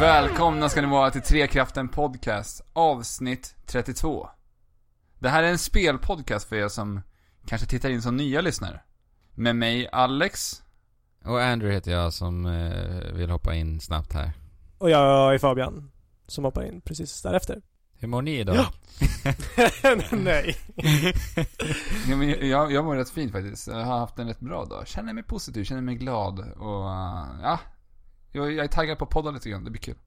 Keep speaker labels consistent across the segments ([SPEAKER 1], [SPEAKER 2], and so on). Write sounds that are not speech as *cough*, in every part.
[SPEAKER 1] Välkomna ska ni vara till Trekraften Podcast, avsnitt 32. Det här är en spelpodcast för er som kanske tittar in som nya lyssnare. Med mig, Alex.
[SPEAKER 2] Och Andrew heter jag som eh, vill hoppa in snabbt här.
[SPEAKER 3] Och jag är Fabian, som hoppar in precis därefter.
[SPEAKER 2] Hur mår ni idag? *laughs*
[SPEAKER 3] Ja. *laughs* Nej.
[SPEAKER 1] Ja, men jag, jag mår rätt fint faktiskt. Jag har haft en rätt bra dag. Känner mig positiv, känner mig glad och eh, ja. Jag, jag är taggad på att podda lite grann, det blir kul.
[SPEAKER 3] *laughs*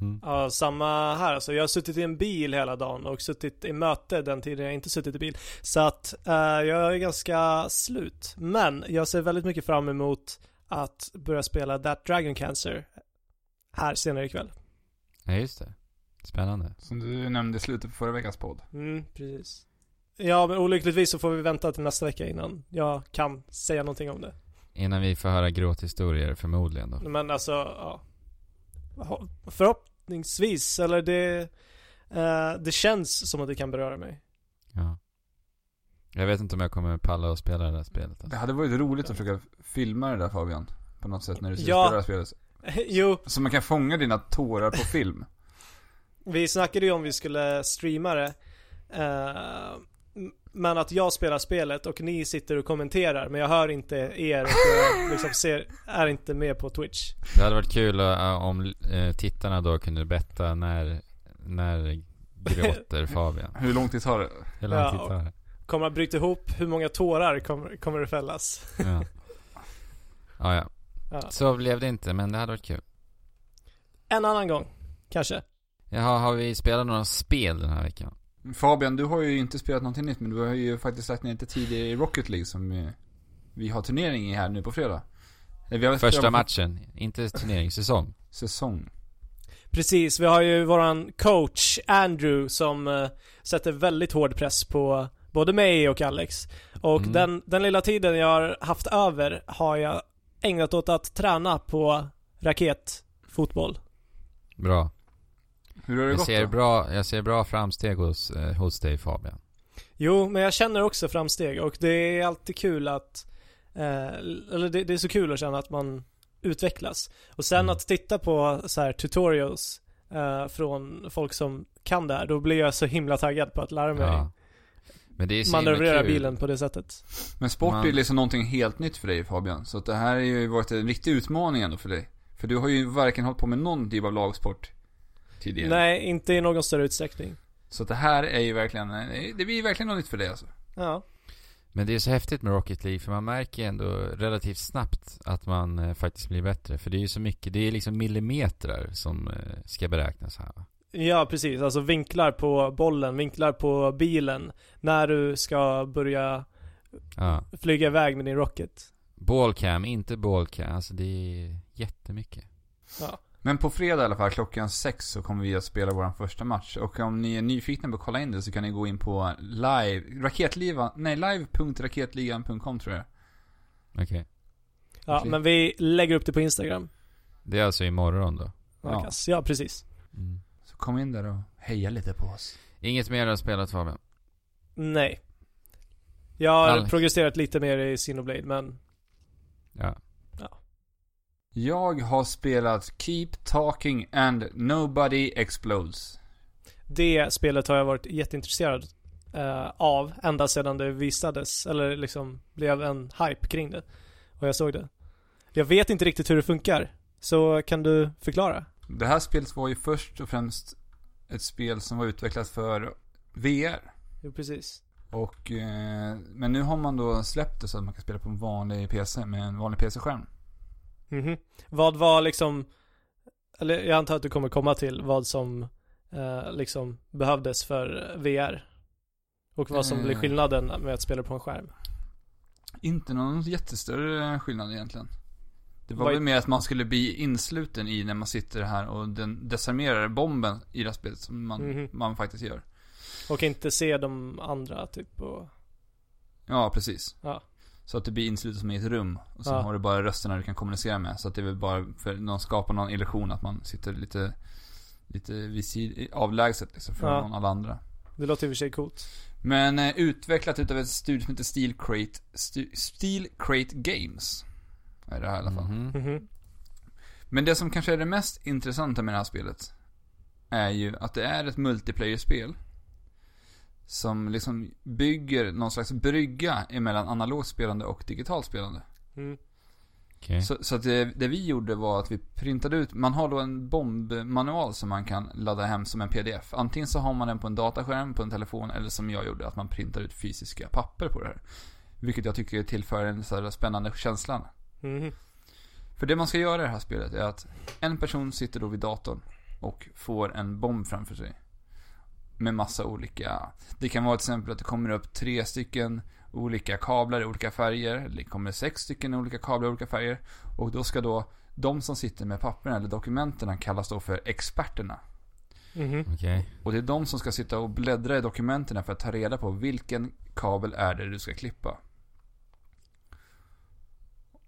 [SPEAKER 2] Mm.
[SPEAKER 3] Ja, samma här alltså. Jag har suttit i en bil hela dagen och suttit i möte den tiden jag inte suttit i bil. Så att eh, jag är ganska slut. Men jag ser väldigt mycket fram emot att börja spela That Dragon Cancer här senare ikväll.
[SPEAKER 2] Ja, just det. Spännande.
[SPEAKER 1] Som du nämnde i slutet på förra veckans podd.
[SPEAKER 3] Mm, precis. Ja, men olyckligtvis så får vi vänta till nästa vecka innan jag kan säga någonting om det.
[SPEAKER 2] Innan vi får höra gråthistorier förmodligen då.
[SPEAKER 3] Men alltså, ja. Förhoppningsvis, eller det... eh, det känns som att det kan beröra mig. *laughs*
[SPEAKER 2] Ja. Jag vet inte om jag kommer palla och spela det här spelet.
[SPEAKER 1] Det
[SPEAKER 2] Alltså.
[SPEAKER 1] hade varit roligt att försöka filma det där Fabian. På något sätt när du
[SPEAKER 3] Ja.
[SPEAKER 1] spelar det här spelet.
[SPEAKER 3] Jo,
[SPEAKER 1] Så man kan fånga dina tårar på film.
[SPEAKER 3] vi snackade ju om vi skulle streama det. Eh, m- men att jag spelar spelet och ni sitter och kommenterar, men jag hör inte er och jag liksom ser, är inte med på Twitch.
[SPEAKER 2] Det hade varit kul eh, om eh, tittarna då kunde betta när, när
[SPEAKER 3] *laughs*
[SPEAKER 2] gråter Fabian.
[SPEAKER 1] Hur lång tid tar det?
[SPEAKER 2] Hur lång tid
[SPEAKER 3] Ja.
[SPEAKER 2] tar det?
[SPEAKER 3] Kommer att bryta ihop, hur många tårar kommer, kommer det fällas?
[SPEAKER 2] Ja. Ja, ja.
[SPEAKER 3] Ja.
[SPEAKER 2] Så blev det inte, men det hade varit kul.
[SPEAKER 3] En annan gång, kanske.
[SPEAKER 2] Jaha, har vi spelat några spel den här veckan?
[SPEAKER 1] Fabian, du har ju inte spelat någonting nytt men du har ju faktiskt lagt ner lite tid i Rocket League som eh, vi har turnering i här nu på fredag. Eh, Vi har
[SPEAKER 2] Första
[SPEAKER 1] spelat
[SPEAKER 2] matchen, inte turneringssäsong.
[SPEAKER 1] Säsong.
[SPEAKER 3] Precis, vi har ju våran coach Andrew som eh, sätter väldigt hård press på både mig och Alex. Och
[SPEAKER 2] Mm.
[SPEAKER 3] den, den lilla tiden jag har haft över har jag ägnat åt att träna på raketfotboll.
[SPEAKER 2] Bra.
[SPEAKER 1] Hur har det
[SPEAKER 2] Jag
[SPEAKER 1] gått
[SPEAKER 2] ser,
[SPEAKER 1] då?
[SPEAKER 2] bra, jag ser bra framsteg hos, eh, hos dig Fabian.
[SPEAKER 3] Jo, men jag känner också framsteg och det är alltid kul att, eh, eller det, det är så kul att känna att man utvecklas. Och sen
[SPEAKER 2] Mm.
[SPEAKER 3] att titta på så här tutorials eh, från folk som kan det här, då blir jag så himla taggad på att lära mig
[SPEAKER 2] Ja. Men det är så himla
[SPEAKER 3] manövrera
[SPEAKER 2] kul.
[SPEAKER 3] bilen på det sättet.
[SPEAKER 1] Men sport är
[SPEAKER 2] Man-
[SPEAKER 1] liksom någonting helt nytt för dig Fabian. Så att det här har ju varit en riktig utmaning ändå för dig. För du har ju varken hållit på med någon typ av lagsport tidigare.
[SPEAKER 3] Nej, inte i någon större utsträckning.
[SPEAKER 1] Så att det här är ju verkligen, eh, det blir ju verkligen något nytt för dig alltså.
[SPEAKER 3] Ja.
[SPEAKER 2] Men det är så häftigt med Rocket League för man märker ändå relativt snabbt att man eh, faktiskt blir bättre. För det är ju så mycket, det är liksom millimetrar som eh, ska beräknas här va?
[SPEAKER 3] ja, precis. Alltså vinklar på bollen, vinklar på bilen när du ska börja
[SPEAKER 2] Ja.
[SPEAKER 3] flyga iväg med din rocket.
[SPEAKER 2] Ballcam, inte ballcam. Alltså det är jättemycket.
[SPEAKER 1] Men på fredag i alla fall, klockan sex så kommer vi att spela vår första match. Och om ni är nyfikna på att kolla in det så kan ni gå in på live, raketlivan, nej live.raketligan.com tror jag.
[SPEAKER 2] Okej.
[SPEAKER 3] Ja,
[SPEAKER 1] Okej.
[SPEAKER 3] men vi lägger upp det på Instagram.
[SPEAKER 2] Det är alltså imorgon då.
[SPEAKER 1] Ja.
[SPEAKER 3] Ja, ja precis.
[SPEAKER 2] Mm.
[SPEAKER 1] Så kom in där och heja lite på oss.
[SPEAKER 2] Inget mer du har spelat Fabian?
[SPEAKER 3] Nej. Jag har
[SPEAKER 2] Alex.
[SPEAKER 3] progresserat lite mer i Sinoblade, men
[SPEAKER 2] Ja.
[SPEAKER 1] Jag har spelat Keep Talking and Nobody Explodes.
[SPEAKER 3] det spelet har jag varit jätteintresserad eh, av ända sedan det visades, eller liksom blev en hype kring det. Och jag såg det. Jag vet inte riktigt hur det funkar, så kan du förklara?
[SPEAKER 1] Det här spelet var ju först och främst ett spel som var utvecklat för VR.
[SPEAKER 3] Jo, precis.
[SPEAKER 1] Och, eh, men nu har man då släppt det så att man kan spela på en vanlig PC med en vanlig PC-skärm.
[SPEAKER 3] Mhm. Vad var liksom, eller jag antar att du kommer komma till vad som eh, liksom behövdes för VR. Och vad som
[SPEAKER 1] Eh.
[SPEAKER 3] blir skillnaden med att spela på en skärm.
[SPEAKER 1] Inte någon jättestörre skillnad egentligen. Det var
[SPEAKER 3] Vad-
[SPEAKER 1] väl mer att man skulle bli insluten i när man sitter här och den desarmerar bomben i det här spelet som man,
[SPEAKER 3] Mhm.
[SPEAKER 1] man faktiskt gör.
[SPEAKER 3] Och inte se de andra typ och,
[SPEAKER 1] Ja, precis.
[SPEAKER 3] Ja.
[SPEAKER 1] Så att du blir insluten som i ett rum. Och sen
[SPEAKER 3] Ja.
[SPEAKER 1] har du bara rösterna du kan kommunicera med. Så att det är väl bara för någon skapar någon illusion att man sitter lite, lite vid sid, avlägset liksom från
[SPEAKER 3] Ja.
[SPEAKER 1] någon alla andra.
[SPEAKER 3] det låter i och för sig coolt.
[SPEAKER 1] Men eh, utvecklat utav ett studio som heter Steel Crate,
[SPEAKER 3] Mm.
[SPEAKER 1] Stu- Steel Crate Games. Är det här i alla fall.
[SPEAKER 2] Mhm.
[SPEAKER 3] Mhm.
[SPEAKER 1] Men det som kanske är det mest intressanta med det här spelet är ju att det är ett multiplayer-spel som liksom bygger någon slags brygga emellan analogt spelande och digitalt spelande.
[SPEAKER 3] Mm.
[SPEAKER 2] Okej.
[SPEAKER 1] Så, så att det, det vi gjorde var att vi printade ut, man har då en bombmanual som man kan ladda hem som en pdf. Antingen så har man den på en dataskärm, på en telefon eller som jag gjorde, att man printar ut fysiska papper på det här. Vilket jag tycker tillför en så här spännande känslan.
[SPEAKER 3] Mhm.
[SPEAKER 1] För det man ska göra i det här spelet är att en person sitter då vid datorn och får en bomb framför sig. Med massa olika, det kan vara till exempel att det kommer upp tre stycken olika kablar i olika färger. Eller det kommer sex stycken olika kablar i olika färger. Och då ska då de som sitter med papperna eller dokumenten kallas då för experterna.
[SPEAKER 3] Mhm.
[SPEAKER 2] Okej.
[SPEAKER 1] Och det är de som ska sitta och bläddra i dokumenten för att ta reda på vilken kabel är det du ska klippa.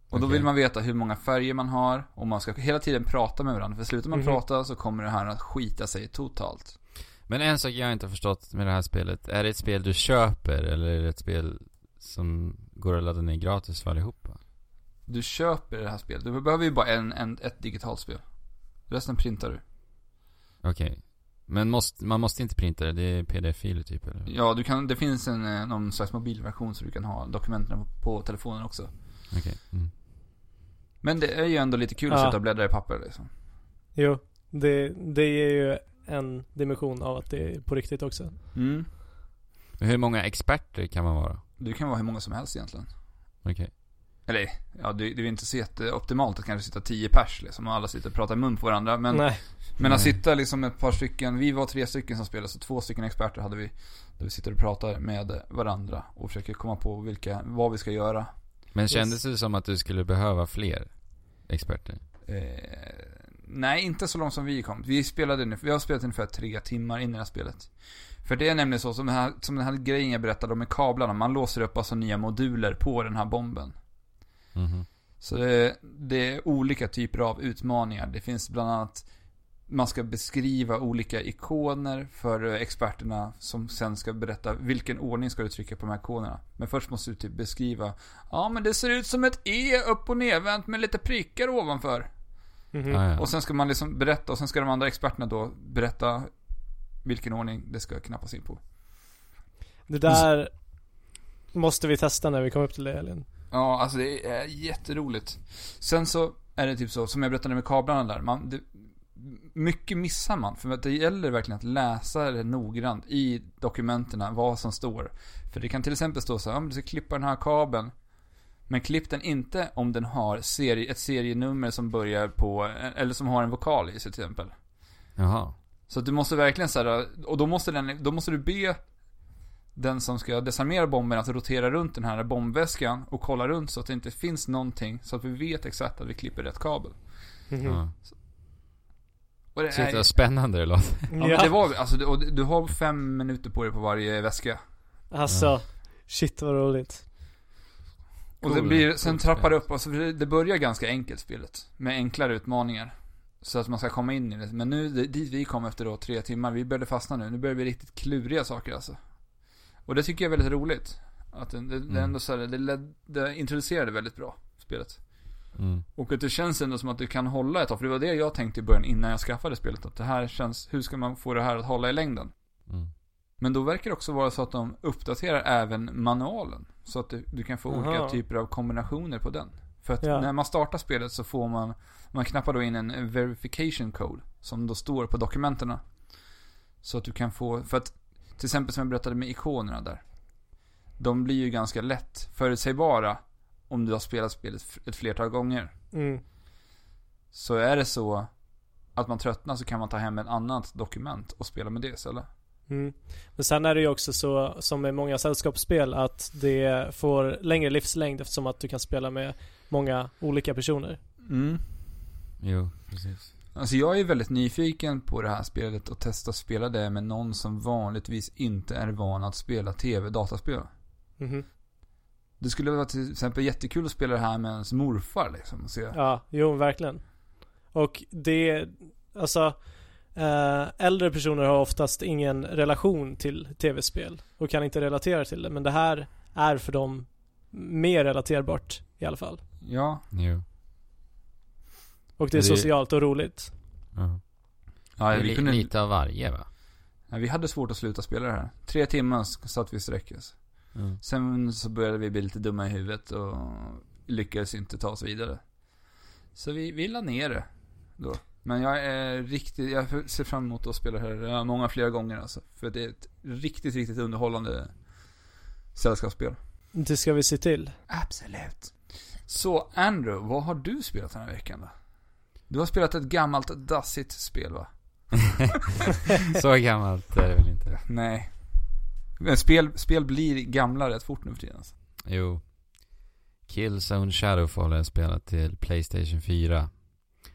[SPEAKER 1] Och då
[SPEAKER 2] Okej.
[SPEAKER 1] vill man veta hur många färger man har och man ska hela tiden prata med varandra. För slutar man
[SPEAKER 3] Mhm.
[SPEAKER 1] prata så kommer det här att skita sig totalt.
[SPEAKER 2] Men en sak jag inte har förstått med det här spelet. Är det ett spel du köper eller är det ett spel som går att ladda ner gratis för allihopa?
[SPEAKER 1] Du köper det här spelet. Du behöver ju bara en, en, ett digitalt spel. Resten printar du.
[SPEAKER 2] Okej. Men måste, man måste inte printa det? Det är pdf-filer typ eller?
[SPEAKER 1] Ja, du kan, det finns en, eh, någon slags mobilversion så du kan ha dokumenten på, på telefonen också.
[SPEAKER 2] Okej. Mm.
[SPEAKER 1] Men det är ju ändå lite kul att
[SPEAKER 3] Ja.
[SPEAKER 1] sitta och bläddra i papper liksom.
[SPEAKER 3] Jo, det, det ger ju en dimension av att det är på riktigt också.
[SPEAKER 1] Mm.
[SPEAKER 2] Men Hur många experter kan man vara?
[SPEAKER 1] Du kan vara hur många som helst egentligen.
[SPEAKER 2] Okej.
[SPEAKER 1] Eller, ja det, det är inte så jätteoptimalt att kanske sitta tio pers liksom och alla sitter och pratar i mun på varandra. Men,
[SPEAKER 3] Nej.
[SPEAKER 1] men att
[SPEAKER 2] Nej.
[SPEAKER 1] sitta liksom ett par stycken, vi var tre stycken som spelade så två stycken experter hade vi. Där vi sitter och pratar med varandra och försöker komma på vilka, vad vi ska göra.
[SPEAKER 2] Men
[SPEAKER 3] Yes.
[SPEAKER 2] kändes det som att du skulle behöva fler experter?
[SPEAKER 1] Eh, nej, inte så långt som vi kom. Vi spelade nu, vi har spelat ungefär tre timmar in i det här spelet. För det är nämligen så, som den här, som den här grejen jag berättade om med kablarna, man låser upp alltså nya moduler på den här bomben.
[SPEAKER 2] Mhm.
[SPEAKER 1] Så det, det är olika typer av utmaningar. Det finns bland annat man ska beskriva olika ikoner för eh, experterna som sen ska berätta vilken ordning ska du trycka på de här ikonerna. Men först måste du typ beskriva, ja men det ser ut som ett E upp och nedvänt med lite prickar ovanför.
[SPEAKER 3] Mhm.
[SPEAKER 2] Ah, ja.
[SPEAKER 1] Och sen ska man liksom berätta och sen ska de andra experterna då berätta vilken ordning det ska knappas in på.
[SPEAKER 3] Det där måste vi testa när vi kommer upp till det Elin.
[SPEAKER 1] Ja, alltså det är jätteroligt. Sen så är det typ så, som jag berättade med kablarna där. Man, det, mycket missar man. För att det gäller verkligen att läsa det noggrant i dokumenten vad som står. För det kan till exempel stå så här, om du ska klippa den här kabeln. Men klipp den inte om den har serie, ett serienummer som börjar på, eller som har en vokal i sig till exempel.
[SPEAKER 2] Jaha.
[SPEAKER 1] Så att du måste verkligen så här, och då måste, den, då måste du be den som ska desarmera bomben att rotera runt den här bombväskan och kolla runt så att det inte finns någonting så att vi vet exakt att vi klipper rätt kabel.
[SPEAKER 3] Mhm.
[SPEAKER 2] Ja.
[SPEAKER 1] Och det,
[SPEAKER 2] Shit
[SPEAKER 1] är,
[SPEAKER 2] vad spännande det låter.
[SPEAKER 1] ja, men det var, alltså, du, och du har fem minuter på dig på varje väska.
[SPEAKER 3] Alltså,
[SPEAKER 2] Ja.
[SPEAKER 3] shit vad roligt.
[SPEAKER 1] Och
[SPEAKER 2] Cool.
[SPEAKER 1] det blir, sen
[SPEAKER 2] Coolt
[SPEAKER 1] trappar
[SPEAKER 2] spel.
[SPEAKER 1] det upp, och så det det börjar ganska enkelt spelet. Med enklare utmaningar. Så att man ska komma in i det. Men nu, det- dit vi kom efter då tre timmar, vi började fastna nu. Nu börjar det bli riktigt kluriga saker alltså. Och det tycker jag är väldigt roligt. Att det, det, det
[SPEAKER 2] Mm.
[SPEAKER 1] är ändå så här, det, led, det introducerade väldigt bra, spelet.
[SPEAKER 2] Mm.
[SPEAKER 1] Och att det känns ändå som att du kan hålla ett tag. För det var det jag tänkte i början innan jag skaffade spelet. Att det här känns, hur ska man få det här att hålla i längden?
[SPEAKER 2] Mm.
[SPEAKER 1] Men då verkar det också vara så att de uppdaterar även manualen. Så att du, du kan få olika
[SPEAKER 3] Aha.
[SPEAKER 1] typer av kombinationer på den. För att
[SPEAKER 3] Ja.
[SPEAKER 1] när man startar spelet så får man, man knappar då in en verification code. Som då står på dokumenten. Så att du kan få, för att till exempel som jag berättade med ikonerna där. De blir ju ganska lätt förutsägbara om du har spelat spelet f- ett flertal gånger.
[SPEAKER 3] Mm.
[SPEAKER 1] Så är det så att man tröttnar så kan man ta hem ett annat dokument och spela med det istället.
[SPEAKER 3] Mm. Men sen är det ju också så, som med många sällskapsspel, att det får längre livslängd eftersom att du kan spela med många olika personer.
[SPEAKER 1] Mm.
[SPEAKER 2] Jo, precis.
[SPEAKER 1] Alltså jag är väldigt nyfiken på det här spelet och testa att spela det med någon som vanligtvis inte är van att spela tv-dataspel.
[SPEAKER 3] Mhm.
[SPEAKER 1] Det skulle vara till exempel jättekul att spela det här med ens morfar liksom. Och se.
[SPEAKER 3] Ja, jo verkligen. Och det, alltså, eh, äldre personer har oftast ingen relation till tv-spel och kan inte relatera till det. Men det här är för dem mer relaterbart i alla fall.
[SPEAKER 1] Ja,
[SPEAKER 2] Jo.
[SPEAKER 3] Och det är
[SPEAKER 2] Det-
[SPEAKER 3] socialt och roligt.
[SPEAKER 2] Ja.
[SPEAKER 1] Ja, vi,
[SPEAKER 2] li-
[SPEAKER 1] kunde,
[SPEAKER 2] Lite av varje va?
[SPEAKER 1] nej, vi hade svårt att sluta spela det här. Tre timmar s- satt vi i sträck. Alltså.
[SPEAKER 2] Mm.
[SPEAKER 1] Sen så började vi bli lite dumma i huvudet och lyckades inte ta oss vidare. Så vi, vi la ner det då. Men jag är riktigt, jag ser fram emot att spela det här eh, många fler gånger alltså. För det är ett riktigt, riktigt underhållande sällskapsspel.
[SPEAKER 3] Det ska vi se till.
[SPEAKER 1] Absolut. Så Andrew, vad har du spelat den här veckan då? Du har spelat ett gammalt dassigt spel va?
[SPEAKER 2] Så gammalt är det väl inte?
[SPEAKER 1] Nej. Men spel, spel blir gamla rätt fort nu för tiden. Alltså.
[SPEAKER 2] Jo. Killzone Shadowfall har jag spelat till Playstation 4.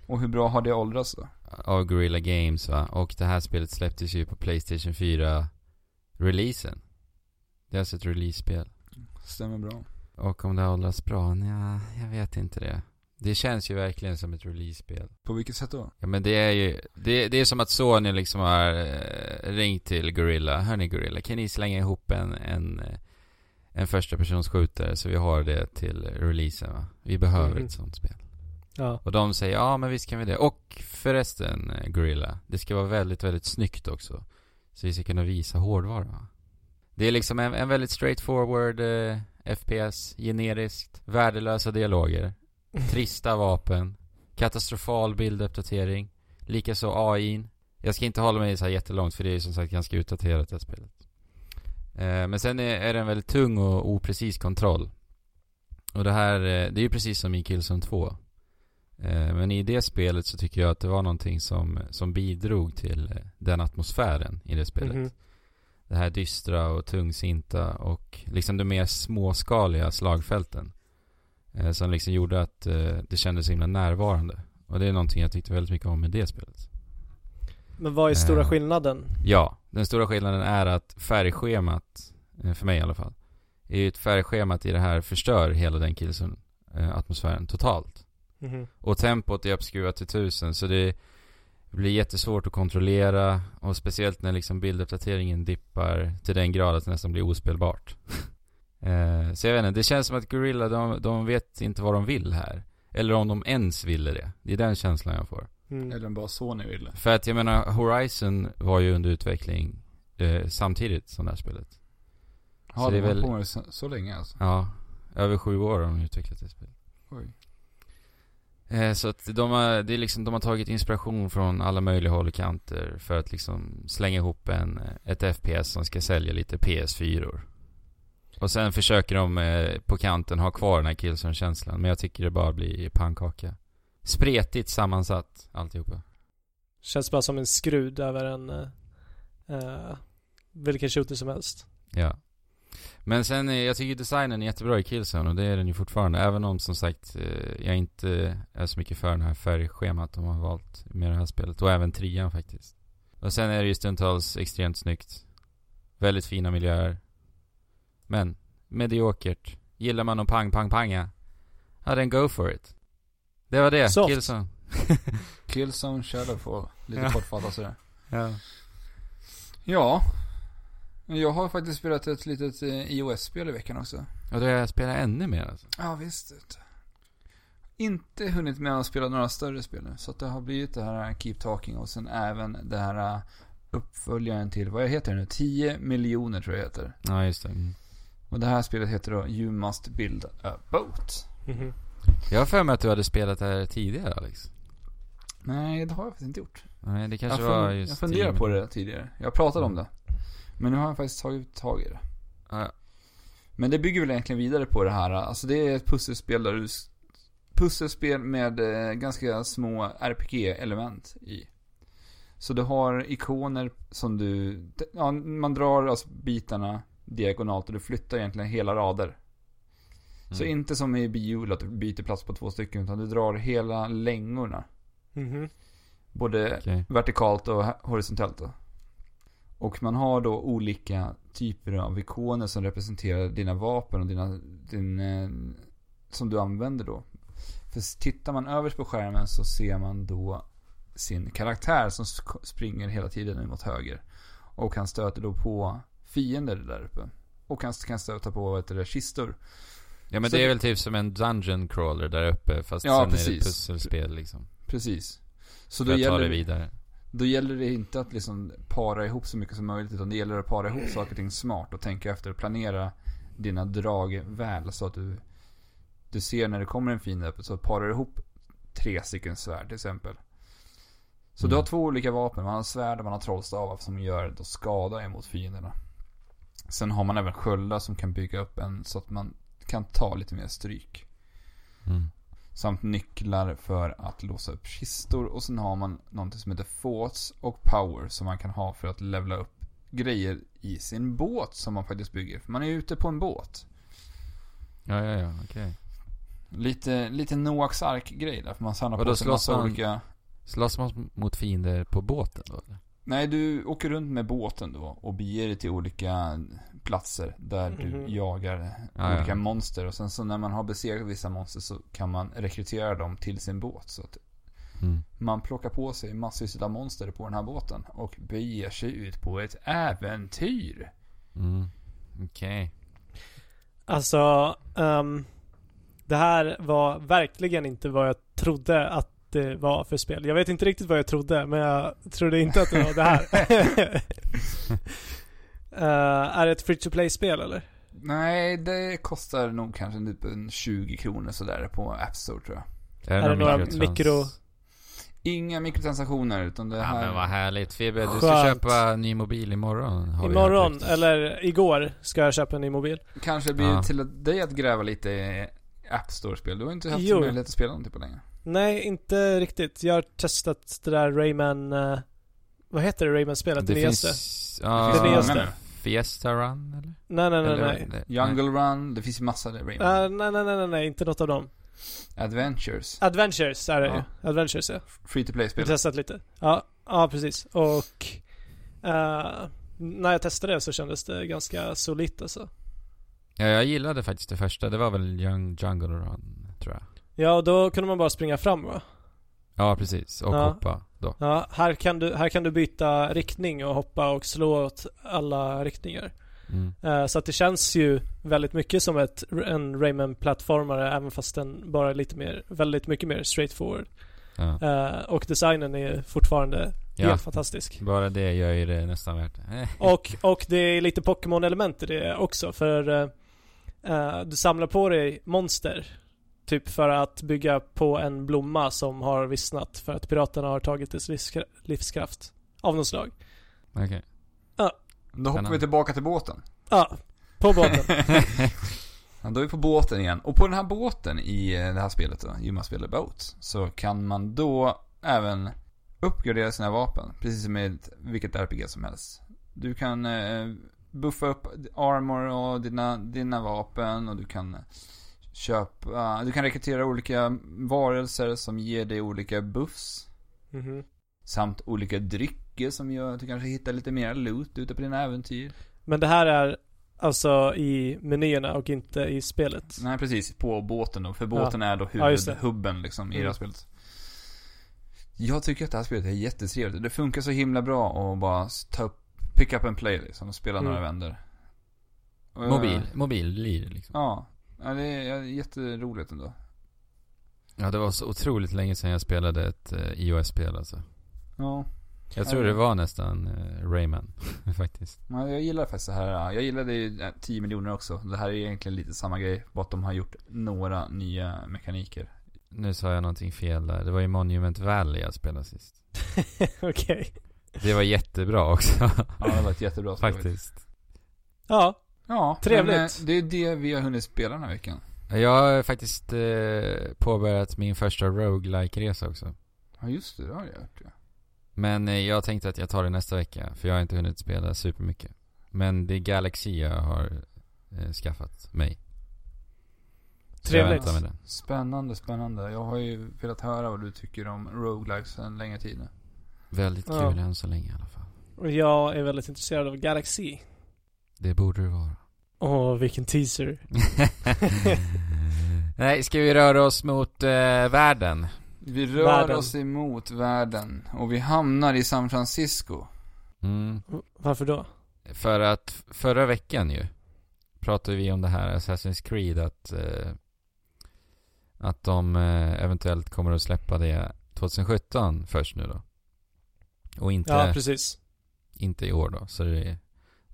[SPEAKER 1] Och hur bra har det åldrats då?
[SPEAKER 2] Av Guerrilla Games va? Och det här spelet släpptes ju på Playstation 4-releasen. Det är alltså ett release-spel.
[SPEAKER 1] Stämmer bra.
[SPEAKER 2] Och om det har åldrats bra? Nja, jag vet inte det. Det känns ju verkligen som ett release-spel.
[SPEAKER 1] På vilket sätt då?
[SPEAKER 2] Ja men det är ju, det, det är som att Sony liksom har eh, ringt till Gorilla. Hörni Gorilla, kan ni slänga ihop en, en, eh, en första skjutare så vi har det till releasen va? Vi behöver
[SPEAKER 3] Mhm.
[SPEAKER 2] ett sånt spel.
[SPEAKER 3] Ja.
[SPEAKER 2] Och de säger ja men visst kan vi det. Och förresten eh, Gorilla, det ska vara väldigt väldigt snyggt också. Så vi ska kunna visa hårdvara. va? Det är liksom en, en väldigt straightforward eh, FPS, generiskt, värdelösa dialoger, trista vapen, katastrofal bilduppdatering, likaså AI'n. Jag ska inte hålla mig så här jättelångt för det är ju som sagt ganska utdaterat det här spelet. Eh, men sen är, är det en väldigt tung och oprecis kontroll. Och det här, eh, det är ju precis som i Killzone 2. Eh, Men i det spelet så tycker jag att det var någonting som, som bidrog till eh, den atmosfären i det spelet.
[SPEAKER 3] Mhm.
[SPEAKER 2] Det här dystra och tungsinta och liksom de mer småskaliga slagfälten. Eh, som liksom gjorde att eh, det kändes så himla närvarande. Och det är någonting jag tyckte väldigt mycket om med det spelet.
[SPEAKER 3] Men vad är stora
[SPEAKER 2] Eh.
[SPEAKER 3] skillnaden?
[SPEAKER 2] Ja, den stora skillnaden är att färgschemat, eh, för mig i alla fall, är ju ett färgschemat i det här förstör hela den Killzone-atmosfären totalt.
[SPEAKER 3] Mhm.
[SPEAKER 2] Och tempot är uppskruvat till tusen så det blir jättesvårt att kontrollera och speciellt när liksom bilduppdateringen dippar till den grad att det nästan blir ospelbart. *laughs* Eh, så jag vet inte, det känns som att Gorilla de, de vet inte vad de vill här. Eller om de ens ville det. Det är den känslan jag får.
[SPEAKER 3] Mm.
[SPEAKER 1] Eller om bara Sony ville.
[SPEAKER 2] För att jag menar, Horizon var ju under utveckling eh, samtidigt som det här spelet.
[SPEAKER 1] Ja,
[SPEAKER 2] Så
[SPEAKER 1] det
[SPEAKER 2] det
[SPEAKER 1] har
[SPEAKER 2] är
[SPEAKER 1] väl...
[SPEAKER 2] väl-
[SPEAKER 1] på med så, så länge alltså.
[SPEAKER 2] Ja, över sju år har de utvecklat det spelet.
[SPEAKER 1] Oj.
[SPEAKER 2] Eh, Så att de har, det är liksom, de har tagit inspiration från alla möjliga håll och kanter för att liksom slänga ihop en, ett FPS som ska sälja lite PS4-or. Och sen försöker de eh, på kanten ha kvar den här Killzone-känslan, men jag tycker det bara blir pannkaka. Spretigt sammansatt, alltihopa.
[SPEAKER 3] Känns bara som en skrud över en... eh, eh, vilken shooter som helst.
[SPEAKER 2] Ja. Men sen, eh, jag tycker designen är jättebra i Killzone och det är den ju fortfarande. Även om som sagt, eh, jag inte är så mycket för den här färgschemat de har valt med det här spelet. Och även trean faktiskt. Och sen är det ju stundtals extremt snyggt. Väldigt fina miljöer. Men, mediokert. Gillar man att pang-pang-panga? Ja, then go for it. Det var det,
[SPEAKER 3] Soft.
[SPEAKER 2] Killzone.
[SPEAKER 1] Killzone Shadowfall. Lite
[SPEAKER 2] Ja.
[SPEAKER 1] kortfattat sådär.
[SPEAKER 2] Ja.
[SPEAKER 1] *laughs* Ja. Jag har faktiskt spelat ett litet eh, iOS-spel i veckan också.
[SPEAKER 2] Och då har jag spelat ännu mer alltså.
[SPEAKER 1] Ja, visst. Inte hunnit med att spela några större spel nu. Så att det har blivit det här Keep Talking och sen även det här eh, uppföljaren till, vad heter det nu? 10 miljoner tror jag heter.
[SPEAKER 2] Ja, just det. Mm.
[SPEAKER 1] Och det här spelet heter då You Must Build a Boat.
[SPEAKER 3] Mhm.
[SPEAKER 2] Jag har för mig att du hade spelat det här tidigare Alex.
[SPEAKER 1] Nej, det har jag faktiskt inte gjort.
[SPEAKER 2] Nej, det kanske
[SPEAKER 1] jag, fun-
[SPEAKER 2] var just
[SPEAKER 1] jag funderade
[SPEAKER 2] Demon.
[SPEAKER 1] på det tidigare. Jag pratade om
[SPEAKER 2] Mm.
[SPEAKER 1] det. Men nu har jag faktiskt tagit tag i det.
[SPEAKER 2] Ja,
[SPEAKER 1] Men det bygger väl egentligen vidare på det här. Alltså det är ett pusselspel där du... s- Pusselspel med eh, ganska små RPG-element i. Så du har ikoner som du... d- Ja, man drar alltså bitarna diagonalt och du flyttar egentligen hela rader. Så
[SPEAKER 2] Mm.
[SPEAKER 1] inte som i Biola att du byter plats på två stycken utan du drar hela längorna.
[SPEAKER 3] Mhm.
[SPEAKER 1] Både
[SPEAKER 2] Okej.
[SPEAKER 1] vertikalt och hä- horisontellt då. Och man har då olika typer av ikoner som representerar dina vapen och dina, din, eh, som du använder då. För s- tittar man överst på skärmen så ser man då sin karaktär som sk- springer hela tiden mot höger. Och han stöter då på fiender där uppe. Och han kan stöta på vad heter det, kistor.
[SPEAKER 2] Ja men
[SPEAKER 1] Så
[SPEAKER 2] det är
[SPEAKER 1] det-
[SPEAKER 2] väl typ som en dungeon crawler där uppe fast
[SPEAKER 1] Ja,
[SPEAKER 2] sen är det
[SPEAKER 1] precis.
[SPEAKER 2] ett pusselspel liksom.
[SPEAKER 1] precis. Så
[SPEAKER 2] för
[SPEAKER 1] då
[SPEAKER 2] att ta
[SPEAKER 1] gäller,
[SPEAKER 2] det
[SPEAKER 1] det
[SPEAKER 2] vidare.
[SPEAKER 1] då gäller det inte att liksom para ihop så mycket som möjligt, utan det gäller att para ihop saker och ting smart och tänka efter och planera dina drag väl så att du, du ser när det kommer en fiende öppet. Så parar du ihop tre stycken svärd till exempel. Så du
[SPEAKER 2] Mm.
[SPEAKER 1] har två olika vapen, man har svärd och man har trollstavar som gör då skada emot fienderna. Sen har man även sköldar som kan bygga upp en så att man kan ta lite mer stryk.
[SPEAKER 2] Mm.
[SPEAKER 1] Samt nycklar för att låsa upp kistor. Och sen har man någonting som heter Forts och Power som man kan ha för att levla upp grejer i sin båt som man faktiskt bygger. För man är ju ute på en båt.
[SPEAKER 2] Ja, ja, ja, okej.
[SPEAKER 1] Lite, lite Noaks ark-grej där. För man samlar
[SPEAKER 2] Vadå,
[SPEAKER 1] på sig en
[SPEAKER 2] slåss
[SPEAKER 1] massa
[SPEAKER 2] man-
[SPEAKER 1] olika...
[SPEAKER 2] Slåss man mot fiender på båten då eller?
[SPEAKER 1] Nej, du åker runt med båten då och beger dig till olika platser där
[SPEAKER 3] Mhm.
[SPEAKER 1] du jagar
[SPEAKER 2] Ja,
[SPEAKER 1] olika
[SPEAKER 2] ja.
[SPEAKER 1] monster. Och sen så när man har besegrat vissa monster så kan man rekrytera dem till sin båt. Så att
[SPEAKER 2] Mm.
[SPEAKER 1] Man plockar på sig massvis av monster på den här båten och beger sig ut på ett äventyr.
[SPEAKER 2] Mm. Okej.
[SPEAKER 3] Alltså, ehm, det här var verkligen inte vad jag trodde att det var för spel. Jag vet inte riktigt vad jag trodde, men jag trodde inte att det var
[SPEAKER 2] *laughs*
[SPEAKER 3] det här. *laughs* Eh, är det ett free to play-spel eller?
[SPEAKER 1] Nej, det kostar nog kanske typ en 20 kronor sådär på App Store tror jag.
[SPEAKER 3] Är det några mikro-
[SPEAKER 1] Inga mikrotransaktioner utan det
[SPEAKER 2] Ja
[SPEAKER 1] här...
[SPEAKER 2] men vad härligt. Febe, du ska
[SPEAKER 3] Skönt.
[SPEAKER 2] köpa ny mobil imorgon. Har vi
[SPEAKER 3] Imorgon,
[SPEAKER 2] hört ryktet.
[SPEAKER 3] eller igår, ska jag köpa en ny mobil.
[SPEAKER 1] Kanske blir
[SPEAKER 2] Ja.
[SPEAKER 1] till att- dig att gräva lite i App Store-spel. Du har inte haft
[SPEAKER 3] Jo.
[SPEAKER 1] möjlighet att spela någonting på länge.
[SPEAKER 3] Nej, inte riktigt. Jag har testat det där Rayman... eh, vad heter det Rayman-spelet?
[SPEAKER 2] Det
[SPEAKER 3] nyaste?
[SPEAKER 2] finns...
[SPEAKER 1] Det
[SPEAKER 2] Ja,
[SPEAKER 1] finns
[SPEAKER 3] Det
[SPEAKER 1] många
[SPEAKER 3] nyaste.
[SPEAKER 1] nu.
[SPEAKER 2] Fiesta Run eller?
[SPEAKER 3] Nej, nej, nej,
[SPEAKER 2] eller
[SPEAKER 3] nej.
[SPEAKER 2] det-
[SPEAKER 1] Jungle Run, det finns ju massa där. Rayman.
[SPEAKER 3] Eh, nej, nej, nej, nej, nej, inte något av dem. Äh.
[SPEAKER 1] Adventures.
[SPEAKER 3] Adventures är det
[SPEAKER 1] Ja.
[SPEAKER 3] ju. Adventures, ja.
[SPEAKER 1] Free to
[SPEAKER 3] Jag
[SPEAKER 1] play-spel.
[SPEAKER 3] har testat lite. Ja, ja precis. Och eh, när jag testade det så kändes det ganska solitt alltså.
[SPEAKER 2] Ja, jag gillade faktiskt det första. Det var väl Young Jungle Run, tror jag.
[SPEAKER 3] Ja, och då kunde man bara springa fram va?
[SPEAKER 2] Ja, precis. Och
[SPEAKER 3] Ja.
[SPEAKER 2] hoppa då.
[SPEAKER 3] Ja, här kan, du, här kan du byta riktning och hoppa och slå åt alla riktningar.
[SPEAKER 2] Mm.
[SPEAKER 3] Eh, så att det känns ju väldigt mycket som ett, en Rayman-plattformare även fast den bara är lite mer, väldigt mycket mer straightforward.
[SPEAKER 2] Ja.
[SPEAKER 3] Eh, och designen är fortfarande
[SPEAKER 2] ja.
[SPEAKER 3] helt fantastisk.
[SPEAKER 2] Bara det gör ju det nästan värt det. Eh.
[SPEAKER 3] Och, och det är lite Pokémon-element i det också för eh, eh, du samlar på dig monster. Typ för att bygga på en blomma som har vissnat för att piraterna har tagit dess livskra- livskraft. Av något slag.
[SPEAKER 2] Okej.
[SPEAKER 1] Då hoppar vi tillbaka till båten.
[SPEAKER 3] Ja, på båten.
[SPEAKER 1] *laughs* Ja, då är vi på båten igen. Och på den här båten i eh, det här spelet då, Gymaspelet Boat, så kan man då även uppgradera sina vapen. Precis som i ett- vilket RPG som helst. Du kan eh, buffa upp armor och dina, dina vapen och du kan köpa, du kan rekrytera olika varelser som ger dig olika buffs.
[SPEAKER 3] *laughs* Mhm.
[SPEAKER 1] Samt olika drycker som gör att du kanske hittar lite mer loot ute på dina äventyr.
[SPEAKER 3] Men det här är alltså i menyerna och inte i spelet.
[SPEAKER 1] Nej precis, på båten då. För båten är då
[SPEAKER 3] Ja, just det.
[SPEAKER 1] huvudhubben liksom i
[SPEAKER 3] Mm.
[SPEAKER 1] det här spelet. Jag tycker att det här spelet är jättetrevligt. Det funkar så himla bra att bara ta upp, pick up and play liksom och spela
[SPEAKER 3] Mm.
[SPEAKER 1] några vändor. Och jag-
[SPEAKER 2] Mobil, mobillir liksom.
[SPEAKER 1] Ja. ja, det är ja, jätteroligt ändå.
[SPEAKER 2] Ja, det var så otroligt länge sedan jag spelade ett eh, iOS-spel alltså.
[SPEAKER 1] Ja,
[SPEAKER 2] Jag tror det var nästan eh, Rayman, *laughs* faktiskt.
[SPEAKER 1] men jag gillar faktiskt det här. Jag gillade ju eh, 10 miljoner också. Det här är egentligen lite samma grej, bara att de har gjort några nya mekaniker.
[SPEAKER 2] Nu sa jag någonting fel där. Det var ju Monument Valley jag spelade sist.
[SPEAKER 3] *laughs* Okej.
[SPEAKER 2] Det var jättebra *laughs* också,
[SPEAKER 1] Ja, det var ett jättebra spel.
[SPEAKER 2] faktiskt.
[SPEAKER 3] Ja,
[SPEAKER 1] Ja,
[SPEAKER 3] Trevligt.
[SPEAKER 1] Men, eh, det är det vi har hunnit spela den här veckan.
[SPEAKER 2] Jag har faktiskt eh, påbörjat min första roguelike resa också.
[SPEAKER 1] Ja, just det. Det har jag gjort. Ja.
[SPEAKER 2] Men eh, jag tänkte att jag tar det nästa vecka, för jag har inte hunnit spela supermycket. Men det är Galaxy jag har eh, skaffat mig. Så jag
[SPEAKER 3] Trevligt.
[SPEAKER 2] väntar med det.
[SPEAKER 1] Spännande, spännande. Jag har ju velat höra vad du tycker om roguelikes en längre tid nu.
[SPEAKER 2] Väldigt kul
[SPEAKER 3] Ja.
[SPEAKER 2] än så länge i alla fall.
[SPEAKER 3] och jag är väldigt intresserad av Galaxy.
[SPEAKER 2] Det borde det vara. *laughs*
[SPEAKER 3] Åh, vilken teaser.
[SPEAKER 2] Nej, ska vi röra oss mot eh, världen?
[SPEAKER 1] Vi rör
[SPEAKER 3] Världen.
[SPEAKER 1] oss emot världen och vi hamnar i San Francisco.
[SPEAKER 2] Mm.
[SPEAKER 3] Varför då?
[SPEAKER 2] För att förra veckan ju pratade vi om det här Assassin's Creed att eh, att de eh, eventuellt kommer att släppa det 2017 först nu då. Och inte,
[SPEAKER 3] Ja, precis.
[SPEAKER 2] inte i år då. Så det är,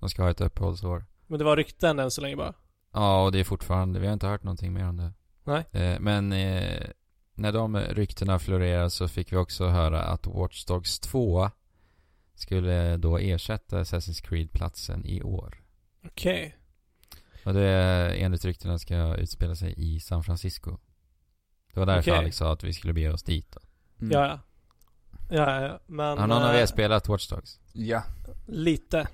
[SPEAKER 2] de ska ha ett uppehållsår.
[SPEAKER 3] Men det var rykten än så länge bara.
[SPEAKER 2] Ja, och det är fortfarande, vi har inte hört någonting mer om det.
[SPEAKER 3] Nej.
[SPEAKER 2] Eh, men eh, när de ryktena florerade så fick vi också höra att Watch Dogs 2 skulle då ersätta Assassin's Creed-platsen i år.
[SPEAKER 3] Okej.
[SPEAKER 2] Och det enligt ryktena ska utspela sig i San Francisco. Det var därför
[SPEAKER 3] Okej.
[SPEAKER 2] Alex sa att vi skulle bege oss dit då.
[SPEAKER 1] Mm.
[SPEAKER 3] Ja, ja. Ja, ja, ja. Men...
[SPEAKER 2] Har någon av
[SPEAKER 3] eh,
[SPEAKER 2] er spelat Watch Dogs?
[SPEAKER 1] Ja.
[SPEAKER 3] Lite.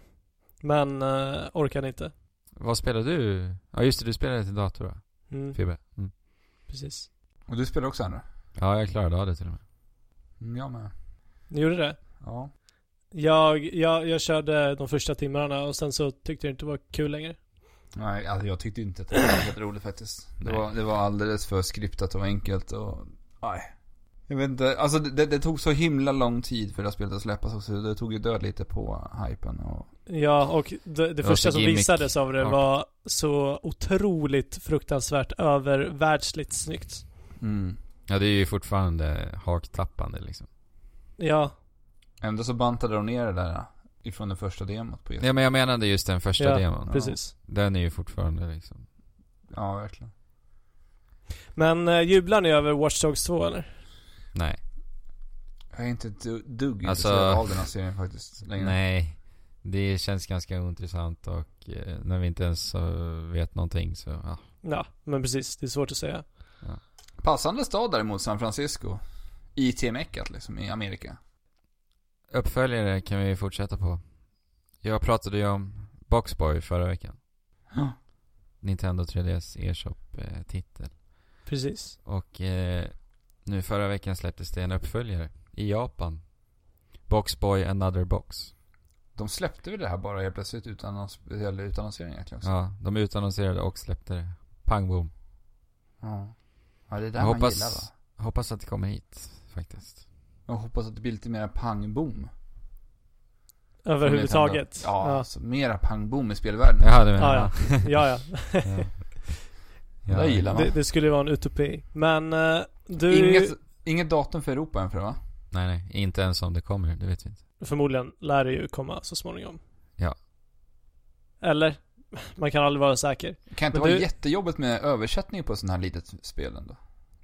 [SPEAKER 3] Men eh, orkade inte.
[SPEAKER 2] Vad spelar du? Ja just det, du spelade till dator va?
[SPEAKER 3] Mm,
[SPEAKER 2] Fibbe? Mm.
[SPEAKER 3] precis.
[SPEAKER 1] Och du spelar också Andra?
[SPEAKER 2] Ja, jag klarade av det till och med.
[SPEAKER 1] Mm, jag med.
[SPEAKER 3] Ni gjorde det?
[SPEAKER 1] Ja.
[SPEAKER 3] Jag, jag, jag körde de första timmarna och sen så tyckte jag inte det var kul längre.
[SPEAKER 1] Nej, alltså jag tyckte inte att det var särskilt roligt faktiskt. Det
[SPEAKER 2] Nej.
[SPEAKER 1] var, det var alldeles för skriptat och enkelt och... Nej. Jag vet inte, alltså det, det, det tog så himla lång tid för det här spelet att släppas också. Det tog ju död lite på hypen och...
[SPEAKER 3] Ja, och det, det
[SPEAKER 2] var
[SPEAKER 3] första
[SPEAKER 2] så
[SPEAKER 3] som
[SPEAKER 2] gimmick.
[SPEAKER 3] visades av det
[SPEAKER 2] Ja.
[SPEAKER 3] var så otroligt fruktansvärt övervärldsligt snyggt.
[SPEAKER 1] Mm.
[SPEAKER 2] Ja, det är ju fortfarande haktappande liksom.
[SPEAKER 3] Ja,
[SPEAKER 1] Ändå så bantade de ner det där äh, ifrån den första demot på just.
[SPEAKER 2] Ja, men jag menade just den första
[SPEAKER 3] Ja,
[SPEAKER 2] demon.
[SPEAKER 3] precis.
[SPEAKER 2] Den är ju fortfarande liksom.
[SPEAKER 1] Ja, verkligen.
[SPEAKER 3] Men eh, jublar ni över Watch Dogs 2 eller?
[SPEAKER 2] Nej.
[SPEAKER 1] Jag är inte ett du- dugg
[SPEAKER 2] Alltså-
[SPEAKER 1] intresserad av den här serien faktiskt. Längre.
[SPEAKER 2] Nej. Det känns ganska ointressant och eh, när vi inte ens eh, vet någonting så, ja.
[SPEAKER 3] Ja, men precis. Det är svårt att säga.
[SPEAKER 1] Passande stad däremot, San Francisco. I TMECat liksom, i Amerika.
[SPEAKER 2] Uppföljare kan vi fortsätta på. Jag pratade ju om Boxboy förra veckan.
[SPEAKER 1] Ja.
[SPEAKER 2] Nintendo 3DS e-shop-titel.
[SPEAKER 3] Precis.
[SPEAKER 2] Och eh, nu förra veckan släpptes det en uppföljare i Japan. Boxboy Another Box.
[SPEAKER 1] De släppte väl det här bara helt plötsligt utan någon speciell utannonsering egentligen också.
[SPEAKER 2] Ja, de utannonserade och släppte det. Pang bom.
[SPEAKER 1] Ja. Ja, det är där
[SPEAKER 2] Jag
[SPEAKER 1] man
[SPEAKER 2] hoppas-
[SPEAKER 1] gillar va?
[SPEAKER 2] Hoppas att det kommer hit faktiskt.
[SPEAKER 1] Jag hoppas att det blir lite mera pang-boom.
[SPEAKER 3] Överhuvudtaget.
[SPEAKER 1] Ja,
[SPEAKER 3] ja.
[SPEAKER 1] Alltså, mera pang-boom i spelvärlden.
[SPEAKER 2] Jaha, du menar
[SPEAKER 3] Ja, ja. ja, ja.
[SPEAKER 2] *laughs* ja.
[SPEAKER 1] Det gillar man.
[SPEAKER 3] Det, det skulle ju vara en utopi. Men eh, du...
[SPEAKER 1] Inget, inget datum för Europa än för det, va?
[SPEAKER 2] Nej, nej. Inte ens om det kommer. Det vet vi inte.
[SPEAKER 3] Förmodligen lär det ju komma så småningom.
[SPEAKER 2] Ja.
[SPEAKER 3] Eller? *laughs* Man kan aldrig vara säker.
[SPEAKER 1] Kan inte
[SPEAKER 3] Men
[SPEAKER 1] vara
[SPEAKER 3] du-
[SPEAKER 1] jättejobbigt med översättning på sån här litet spel ändå?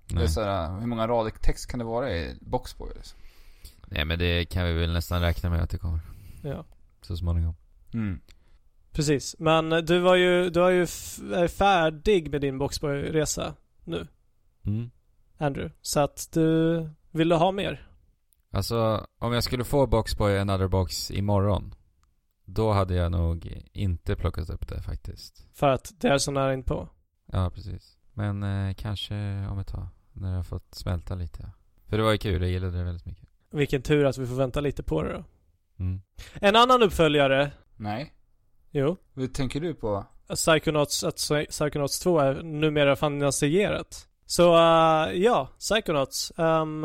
[SPEAKER 1] Det är
[SPEAKER 2] Nej.
[SPEAKER 1] så här, hur många rader text kan det vara i Boxboy liksom?
[SPEAKER 2] nej, men det kan vi väl nästan räkna med att det kommer.
[SPEAKER 3] Ja.
[SPEAKER 2] Så småningom.
[SPEAKER 1] Mm.
[SPEAKER 3] Precis. Men eh, du var ju, du var ju f- är färdig med din Boxboy-resa nu,
[SPEAKER 2] Mm.
[SPEAKER 3] Andrew. Så att du, vill du ha mer?
[SPEAKER 2] Alltså, om jag skulle få Boxboy Another Box imorgon. Då hade jag nog inte plockat upp det faktiskt.
[SPEAKER 3] För att det är så nära inpå.
[SPEAKER 2] Ja, precis. Men eh, kanske om ett tag. När jag har fått smälta lite. Ja. För det var ju kul. Jag gillade det väldigt mycket.
[SPEAKER 3] Vilken tur att vi får vänta lite på det då.
[SPEAKER 2] Mm.
[SPEAKER 3] En annan uppföljare,
[SPEAKER 1] Nej.
[SPEAKER 3] jo.
[SPEAKER 1] Hur tänker du på?
[SPEAKER 3] Psychonauts, att Psy- Psychonauts 2 är numera finansierat. Så eh, ja, Psychonauts. Ehm,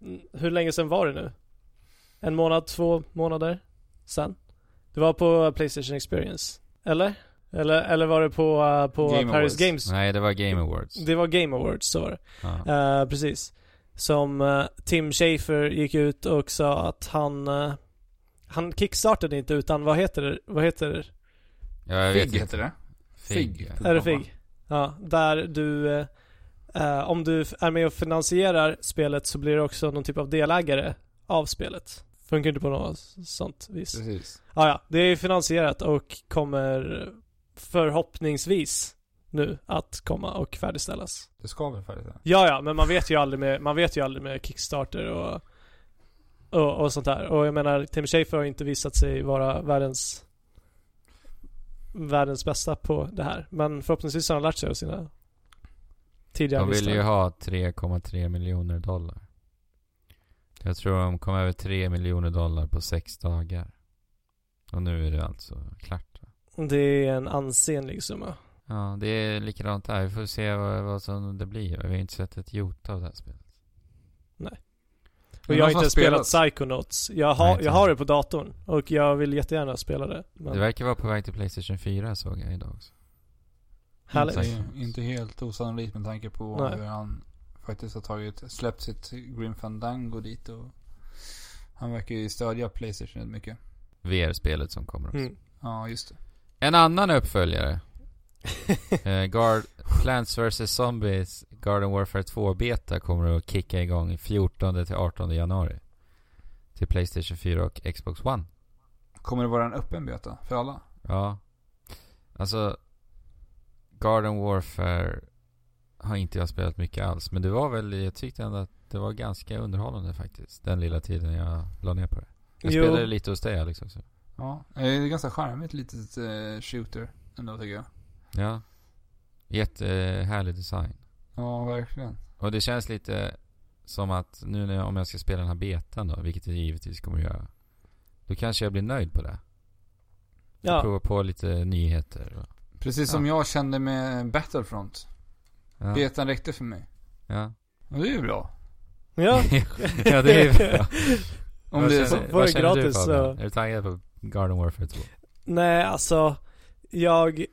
[SPEAKER 3] n- hur länge sedan var det nu? En månad, två månader sen? Det var på Playstation Experience, eller? Eller, eller var det på, eh, på
[SPEAKER 1] Game
[SPEAKER 3] Paris
[SPEAKER 1] Awards.
[SPEAKER 3] Games?
[SPEAKER 2] Nej, det var Game Awards.
[SPEAKER 3] Det var Game Awards, så var det.
[SPEAKER 2] Ja.
[SPEAKER 3] Eh, precis. Som eh, Tim Schafer gick ut och sa att han... eh, han kickstartade inte utan vad heter det? Vad heter det?
[SPEAKER 2] Ja, jag vet
[SPEAKER 1] Fig
[SPEAKER 2] inte.
[SPEAKER 1] heter det. Fig.
[SPEAKER 2] Fig.
[SPEAKER 3] Är det FIG? Ja, där du... eh, Eh, om du f- är med och finansierar spelet så blir du också någon typ av delägare av spelet. Funkar inte på något sånt vis.
[SPEAKER 1] Precis.
[SPEAKER 3] Ja, ja. Det är finansierat och kommer förhoppningsvis nu att komma och färdigställas.
[SPEAKER 1] Det ska väl färdigt
[SPEAKER 3] Ja, ja, men man vet ju aldrig med, man vet ju aldrig med Kickstarter och, och, och sånt där. Och jag menar, Tim Schafer har inte visat sig vara världens världens bästa på det här. Men förhoppningsvis har han lärt sig av sina tidigare
[SPEAKER 2] De ville
[SPEAKER 3] misstag.
[SPEAKER 2] ju ha 3,3 miljoner dollar. Jag tror de kom över 3 miljoner dollar på sex dagar. Och nu är det alltså klart. va?
[SPEAKER 3] Det är en ansenlig summa.
[SPEAKER 2] Ja, det är likadant där. Vi får se vad, vad som det blir. Vi har inte sett ett jota av det här spelet.
[SPEAKER 3] Och jag har inte spelat Psychonauts. Jag
[SPEAKER 2] Nej,
[SPEAKER 3] har,
[SPEAKER 2] inte
[SPEAKER 3] jag
[SPEAKER 2] jag.
[SPEAKER 3] har det på datorn och jag vill jättegärna spela det. Men
[SPEAKER 2] Det verkar vara på väg till Playstation 4 såg jag idag också.
[SPEAKER 3] härligt.
[SPEAKER 2] Psycho.
[SPEAKER 1] Inte, inte helt osannolikt med tanke på
[SPEAKER 3] Nej.
[SPEAKER 1] hur han faktiskt har tagit, släppt sitt Grim Fandango dit och han verkar ju stödja Playstation rätt mycket.
[SPEAKER 2] VR-spelet som kommer också.
[SPEAKER 3] Mm.
[SPEAKER 1] Ja, just det.
[SPEAKER 2] En annan uppföljare. eh, Guard, Plants vs Zombies Garden Warfare 2 Beta kommer att kicka igång 14 till 18 januari. Till Playstation 4 och Xbox One.
[SPEAKER 1] Kommer det vara en öppen beta för alla?
[SPEAKER 2] Ja. Alltså, Garden Warfare har inte jag spelat mycket alls. Men det var väl, jag tyckte ändå att det var ganska underhållande faktiskt. Den lilla tiden jag la ner på det. Jag
[SPEAKER 3] Jo.
[SPEAKER 2] spelade lite hos dig Alex också.
[SPEAKER 1] Ja. Det är ganska charmigt litet eh, shooter ändå tycker jag.
[SPEAKER 2] Ja. Jättehärlig design.
[SPEAKER 1] Ja, verkligen.
[SPEAKER 2] Och det känns lite som att nu när jag, om jag ska spela den här betan då, vilket jag givetvis kommer att göra. Då kanske jag blir nöjd på det. Får
[SPEAKER 3] Ja.
[SPEAKER 2] Prova på lite nyheter. och-
[SPEAKER 1] Precis som jag kände med Battlefront.
[SPEAKER 2] Ja.
[SPEAKER 1] Betan räckte för mig.
[SPEAKER 2] Ja.
[SPEAKER 1] Och det är ju bra.
[SPEAKER 3] Ja,
[SPEAKER 2] *laughs* ja, det är
[SPEAKER 3] *laughs*
[SPEAKER 2] bra.
[SPEAKER 1] Om
[SPEAKER 2] vad
[SPEAKER 1] det
[SPEAKER 2] känner,
[SPEAKER 3] Var
[SPEAKER 2] vad
[SPEAKER 3] det
[SPEAKER 2] känner
[SPEAKER 3] gratis,
[SPEAKER 2] du Fabian?
[SPEAKER 3] så-
[SPEAKER 2] Är du taggad på Garden Warfare 2?
[SPEAKER 3] nej alltså jag,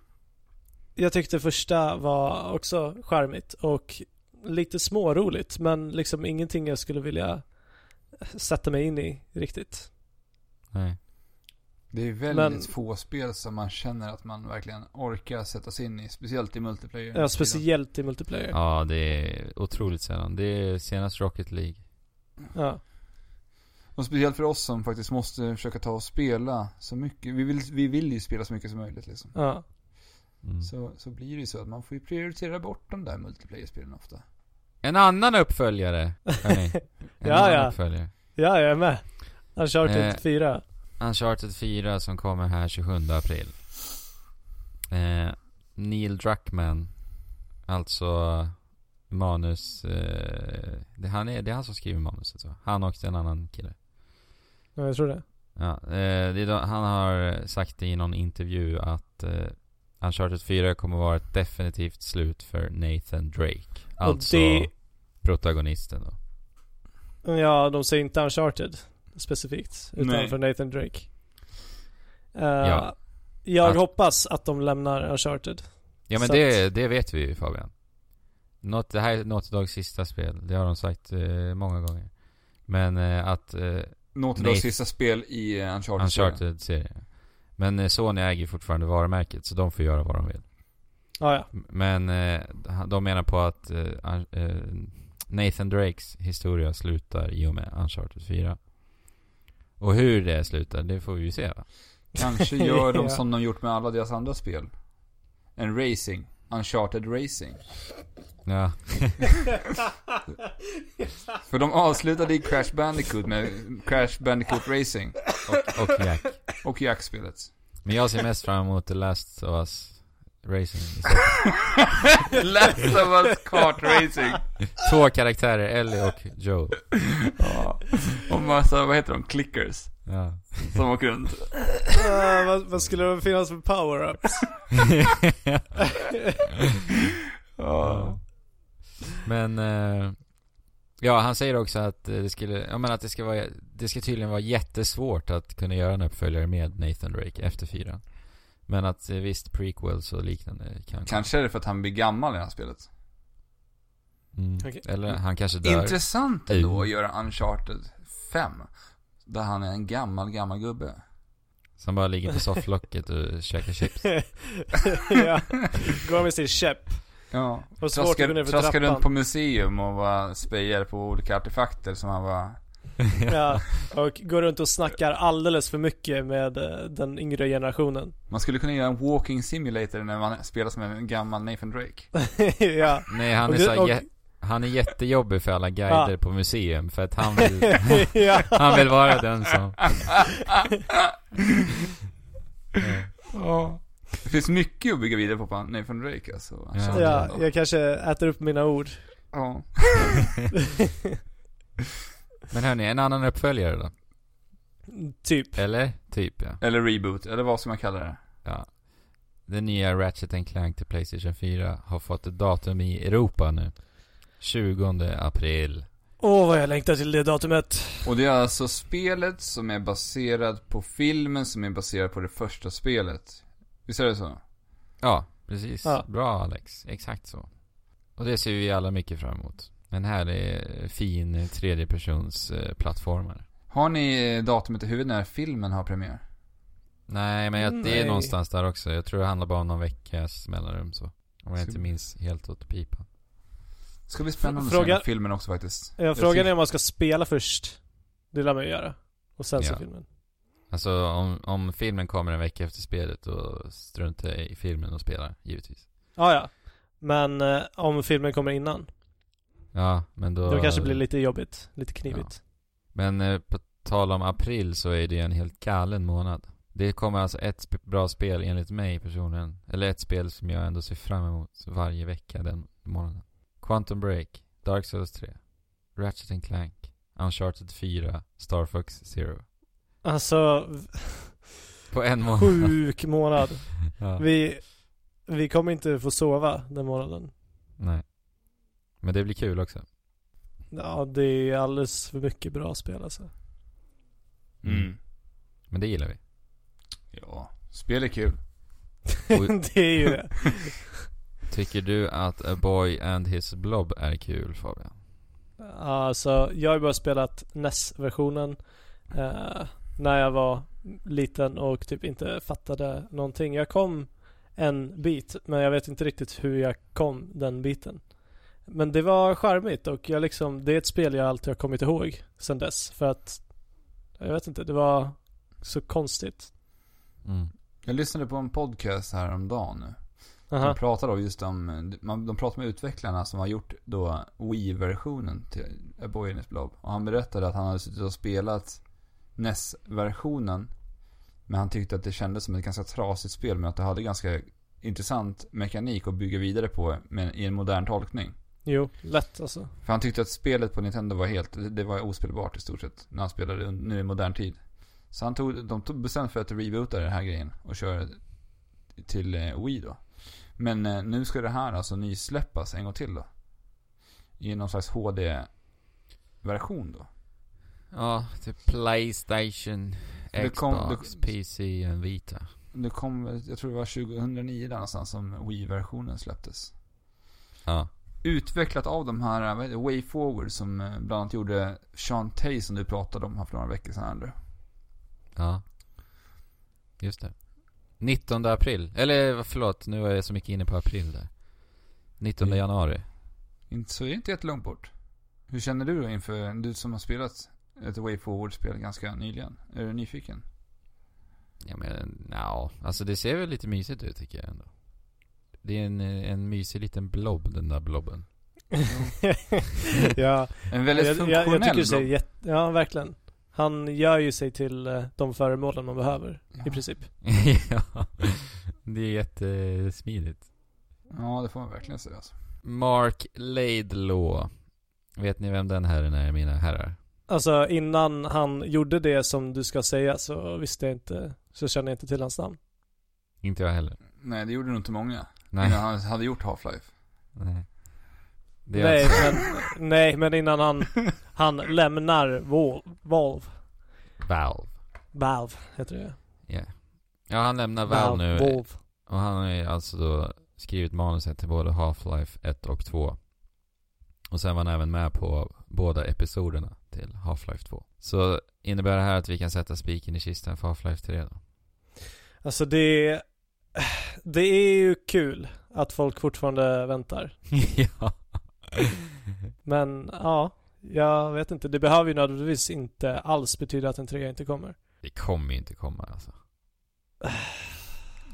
[SPEAKER 3] jag tyckte första var också charmigt och lite småroligt men liksom ingenting jag skulle vilja sätta mig in i riktigt.
[SPEAKER 2] Nej.
[SPEAKER 1] Det är väldigt
[SPEAKER 3] Men-
[SPEAKER 1] få spel som man känner att man verkligen orkar sätta sig in i. Speciellt i multiplayer.
[SPEAKER 3] Ja, speciellt i multiplayer. Ja.
[SPEAKER 2] Ja, det är otroligt sällan. Det är senast Rocket League.
[SPEAKER 1] Och speciellt för oss som faktiskt måste försöka ta och spela så mycket. Vi vill, vi vill ju spela så mycket som möjligt liksom.
[SPEAKER 3] ja.
[SPEAKER 2] Mm.
[SPEAKER 1] Så, så blir det ju så att man får ju prioritera bort de där multiplayer-spelen ofta.
[SPEAKER 2] En annan uppföljare, hörni. En
[SPEAKER 3] Ja,
[SPEAKER 2] annan
[SPEAKER 3] ja.
[SPEAKER 2] uppföljare.
[SPEAKER 3] Ja, jag är med. Uncharted
[SPEAKER 2] Eh.
[SPEAKER 3] 4.
[SPEAKER 2] Uncharted 4 som kommer här 27 april. Eh, Neil Druckmann, alltså manus... Eh, det, han är, det är han som skriver manuset va? Han och en annan kille.
[SPEAKER 3] Ja, jag tror det.
[SPEAKER 2] Ja, eh, det är då, han har sagt i någon intervju att eh, Uncharted 4 kommer vara ett definitivt slut för Nathan Drake. Alltså
[SPEAKER 3] det-
[SPEAKER 2] protagonisten då.
[SPEAKER 3] Ja, de säger inte Uncharted specifikt. Utan
[SPEAKER 1] Nej.
[SPEAKER 3] för Nathan Drake. Eh,
[SPEAKER 2] Ja.
[SPEAKER 3] Jag
[SPEAKER 2] Att-
[SPEAKER 3] hoppas att de lämnar Uncharted.
[SPEAKER 2] Ja men
[SPEAKER 3] Så
[SPEAKER 2] det, det vet vi ju Fabian. Not, det här är Naughty Dogs sista spel. Det har de sagt eh, många gånger. Men eh, att eh,
[SPEAKER 1] Naughty
[SPEAKER 2] Nej.
[SPEAKER 1] Dogs sista spel i eh, Uncharted.
[SPEAKER 2] Uncharted-serien. Men eh, Sony äger ju fortfarande varumärket så de får göra vad de vill.
[SPEAKER 3] Ah, ja.
[SPEAKER 2] Men eh, de menar på att eh, An- eh, Nathan Drakes historia slutar i och med Uncharted 4. Och hur det slutar, det får vi ju se va?
[SPEAKER 1] Kanske gör de
[SPEAKER 3] Ja.
[SPEAKER 1] som de gjort med alla deras andra spel. En racing. Uncharted Racing.
[SPEAKER 2] Ja,
[SPEAKER 1] För de avslutade i Crash Bandicoot med Crash Bandicoot Racing.
[SPEAKER 2] och, och Jack.
[SPEAKER 1] Och Jack-spelet.
[SPEAKER 2] Men jag ser mest fram emot The Last of Us Racing.
[SPEAKER 1] *laughs* Last of us kart racing.
[SPEAKER 2] Två karaktärer, Ellie och Joe.
[SPEAKER 1] Ja. Och massa, vad heter de? Clickers.
[SPEAKER 2] Ja. *laughs*
[SPEAKER 1] Som åker runt.
[SPEAKER 3] Eh, vad, vad skulle det finnas för power-up?
[SPEAKER 2] Ja. Men, eh, ja han säger också att eh, det skulle, jag menar att det ska vara, det ska tydligen vara jättesvårt att kunna göra en uppföljare med Nathan Drake efter fyran. Men att eh, visst prequels och liknande kan
[SPEAKER 1] Kanske är det för att han blir gammal i det här spelet.
[SPEAKER 2] Mm.
[SPEAKER 3] Okej.
[SPEAKER 2] Eller han kanske dör.
[SPEAKER 1] Intressant ändå
[SPEAKER 2] Mm.
[SPEAKER 1] att göra Uncharted 5. Där han är en gammal, gammal gubbe.
[SPEAKER 2] Som bara ligger på sofflocket och käkar chips.
[SPEAKER 3] *laughs* ja. Går med sin käpp.
[SPEAKER 1] Ja.
[SPEAKER 3] Och svårt att gå ner
[SPEAKER 1] Traskar,
[SPEAKER 3] för
[SPEAKER 1] traskar
[SPEAKER 3] trappan.
[SPEAKER 1] runt på museum och bara spejar på olika artefakter som han var
[SPEAKER 3] Ja. Och går runt och snackar alldeles för mycket med eh, den yngre generationen. *laughs*
[SPEAKER 1] Man skulle kunna göra en walking simulator när man spelar som en gammal Nathan
[SPEAKER 2] *laughs*
[SPEAKER 1] Drake.
[SPEAKER 3] ja.
[SPEAKER 2] Nej han
[SPEAKER 3] *laughs* Och
[SPEAKER 2] är
[SPEAKER 3] du-
[SPEAKER 2] så här
[SPEAKER 3] och-
[SPEAKER 2] jä- han är jättejobbig för alla guider på museum för att han vill,
[SPEAKER 3] *laughs* ja.
[SPEAKER 2] han vill vara den som...
[SPEAKER 1] Ja. Det finns mycket att bygga vidare på på Nathan Drake alltså. Han
[SPEAKER 2] Ja.
[SPEAKER 1] känner
[SPEAKER 3] Ja,
[SPEAKER 1] ändå.
[SPEAKER 3] jag kanske äter upp mina ord.
[SPEAKER 1] ja.
[SPEAKER 2] Men hörni, en annan uppföljare då?
[SPEAKER 3] Typ.
[SPEAKER 2] Eller? Typ ja.
[SPEAKER 1] Eller reboot, eller vad som man kallar det.
[SPEAKER 2] Ja. Den nya Ratchet and Clank till Playstation 4 har fått ett datum i Europa nu. 20 april.
[SPEAKER 3] Åh, vad jag längtar till det datumet.
[SPEAKER 1] Och det är alltså spelet som är baserat på filmen som är baserad på det första spelet. Visst är det så?
[SPEAKER 2] Ja, precis.
[SPEAKER 3] Ja.
[SPEAKER 2] Bra Alex. Exakt så. Och det ser vi alla mycket fram emot. En härlig, fin tredjepersons eh, plattformar.
[SPEAKER 1] Har ni eh, datumet i huvudet när filmen har premiär?
[SPEAKER 2] Nej, men jag, det är
[SPEAKER 3] Nej.
[SPEAKER 2] någonstans där också. Jag tror det handlar bara om någon veckas mellanrum så. Om jag
[SPEAKER 1] Ska-
[SPEAKER 2] inte minns helt åt pipan.
[SPEAKER 1] Ska bli spännande att se
[SPEAKER 3] Fråga-
[SPEAKER 1] den filmen också faktiskt.
[SPEAKER 3] Jag frågan är om man ska spela först. Det lär man ju göra. Och sen så
[SPEAKER 2] Ja.
[SPEAKER 3] filmen.
[SPEAKER 2] Alltså om, om filmen kommer en vecka efter spelet då struntar jag i filmen och spelar, givetvis.
[SPEAKER 3] Ja, ja. Men eh, om filmen kommer innan,
[SPEAKER 2] Ja, men då...
[SPEAKER 3] då kanske det blir lite jobbigt. Lite knivigt.
[SPEAKER 2] Men eh, på tal om april så är det en helt galen månad. Det kommer alltså ett sp- bra spel enligt mig personligen. Eller ett spel som jag ändå ser fram emot varje vecka den månaden. Quantum Break, Dark Souls 3, Ratchet and Clank, Uncharted 4, Star Fox Zero. *laughs*
[SPEAKER 3] Alltså,
[SPEAKER 2] På en månad.
[SPEAKER 3] sjuk månad.
[SPEAKER 2] *laughs* ja.
[SPEAKER 3] Vi, vi kommer inte få sova den månaden.
[SPEAKER 2] Nej. Men det blir kul också.
[SPEAKER 3] Ja, det är alldeles för mycket bra spel alltså.
[SPEAKER 1] Mm.
[SPEAKER 2] Men det gillar vi.
[SPEAKER 1] Ja, spel är kul.
[SPEAKER 2] Oj.
[SPEAKER 3] *laughs* det är ju det.
[SPEAKER 2] Tycker du att A Boy and His Blob är kul Fabian?
[SPEAKER 3] Alltså, jag har ju bara spelat NES-versionen eh, när jag var liten och typ inte fattade någonting. Jag kom en bit, men jag vet inte riktigt hur jag kom den biten. Men det var charmigt och jag liksom, det är ett spel jag alltid har kommit ihåg sedan dess. För att, jag vet inte, det var så konstigt.
[SPEAKER 2] Mm.
[SPEAKER 1] Jag lyssnade på en podcast häromdagen nu.
[SPEAKER 3] Aha.
[SPEAKER 1] De pratade då just om, man- de pratade med utvecklarna som har gjort då Wii-versionen till A Boy in His Blob. Och han berättade att han hade suttit och spelat NES-versionen. Men han tyckte att det kändes som ett ganska trasigt spel men att det hade ganska intressant mekanik att bygga vidare på med, i en modern tolkning.
[SPEAKER 3] Jo, lätt alltså.
[SPEAKER 1] För han tyckte att spelet på Nintendo var helt, det- det var ospelbart i stort sett. När han spelade un- nu i modern tid. Så han tog, de tog bestämde för att reboota den här grejen och köra till eh, Wii då. Men eh, nu ska det här alltså nysläppas en gång till då. I någon slags HD-version då.
[SPEAKER 2] Ja, till Playstation,
[SPEAKER 1] För det kom-
[SPEAKER 2] Xbox,
[SPEAKER 1] det-
[SPEAKER 2] PC och Vita.
[SPEAKER 1] Det kom, väl- jag tror det var 2009 där någonstans som Wii-versionen släpptes.
[SPEAKER 2] Ja.
[SPEAKER 1] Utvecklat av de här, vad heter det, Way Forward som eh, bland annat gjorde Shantae som du pratade om här för några veckor sedan Andrew.
[SPEAKER 2] Ja. Just det. 19 april. Eller vad- förlåt, nu är jag så mycket inne på april där. 19
[SPEAKER 1] Mm.
[SPEAKER 2] januari.
[SPEAKER 1] Inte, så det är inte jättelångt bort. Hur känner du då inför, du som har spelat ett Way Forward-spel ganska nyligen? Är du nyfiken?
[SPEAKER 2] Ja men, nja. Alltså det ser väl lite mysigt ut tycker jag ändå. Det är en, eh, en mysig liten blob, den där blobben. *laughs*
[SPEAKER 3] ja.
[SPEAKER 1] En väldigt
[SPEAKER 3] jag, jag,
[SPEAKER 1] funktionell
[SPEAKER 3] jag tycker det ser
[SPEAKER 1] blob.
[SPEAKER 3] jätte, ja verkligen. Han gör ju sig till eh, de föremålen man behöver i
[SPEAKER 1] Ja.
[SPEAKER 3] princip.
[SPEAKER 2] ja. Det är jättesmidigt.
[SPEAKER 1] Ja, det får man verkligen säga alltså.
[SPEAKER 2] Mark Laidlaw. Vet ni vem den herren är mina herrar?
[SPEAKER 3] Alltså innan han gjorde det som du ska säga så visste jag inte, så kände jag inte till hans namn.
[SPEAKER 2] Inte jag heller.
[SPEAKER 1] Nej, det gjorde nog inte många.
[SPEAKER 2] Nej.
[SPEAKER 1] Innan han hade gjort Half-Life.
[SPEAKER 2] Nej. Det är
[SPEAKER 3] nej,
[SPEAKER 2] alltså,
[SPEAKER 3] men, nej, men innan han,
[SPEAKER 2] *laughs*
[SPEAKER 3] han lämnar Vol- Valve.
[SPEAKER 2] Valve.
[SPEAKER 3] Valve heter det.
[SPEAKER 2] Yeah. Ja, han lämnar Valve nu.
[SPEAKER 3] Valve.
[SPEAKER 2] Och han har ju alltså då skrivit manuset till både Half-Life 1 och 2. Och sen var han även med på båda episoderna till Half-Life 2. Så innebär det här att vi kan sätta spiken i kistan för Half-Life 3 då?
[SPEAKER 3] Alltså det, det är ju kul att folk fortfarande väntar.
[SPEAKER 2] ja.
[SPEAKER 3] Men ja, jag vet inte. Det behöver ju nödvändigtvis inte alls betyda att en trea inte kommer.
[SPEAKER 2] Det kommer ju inte komma alltså.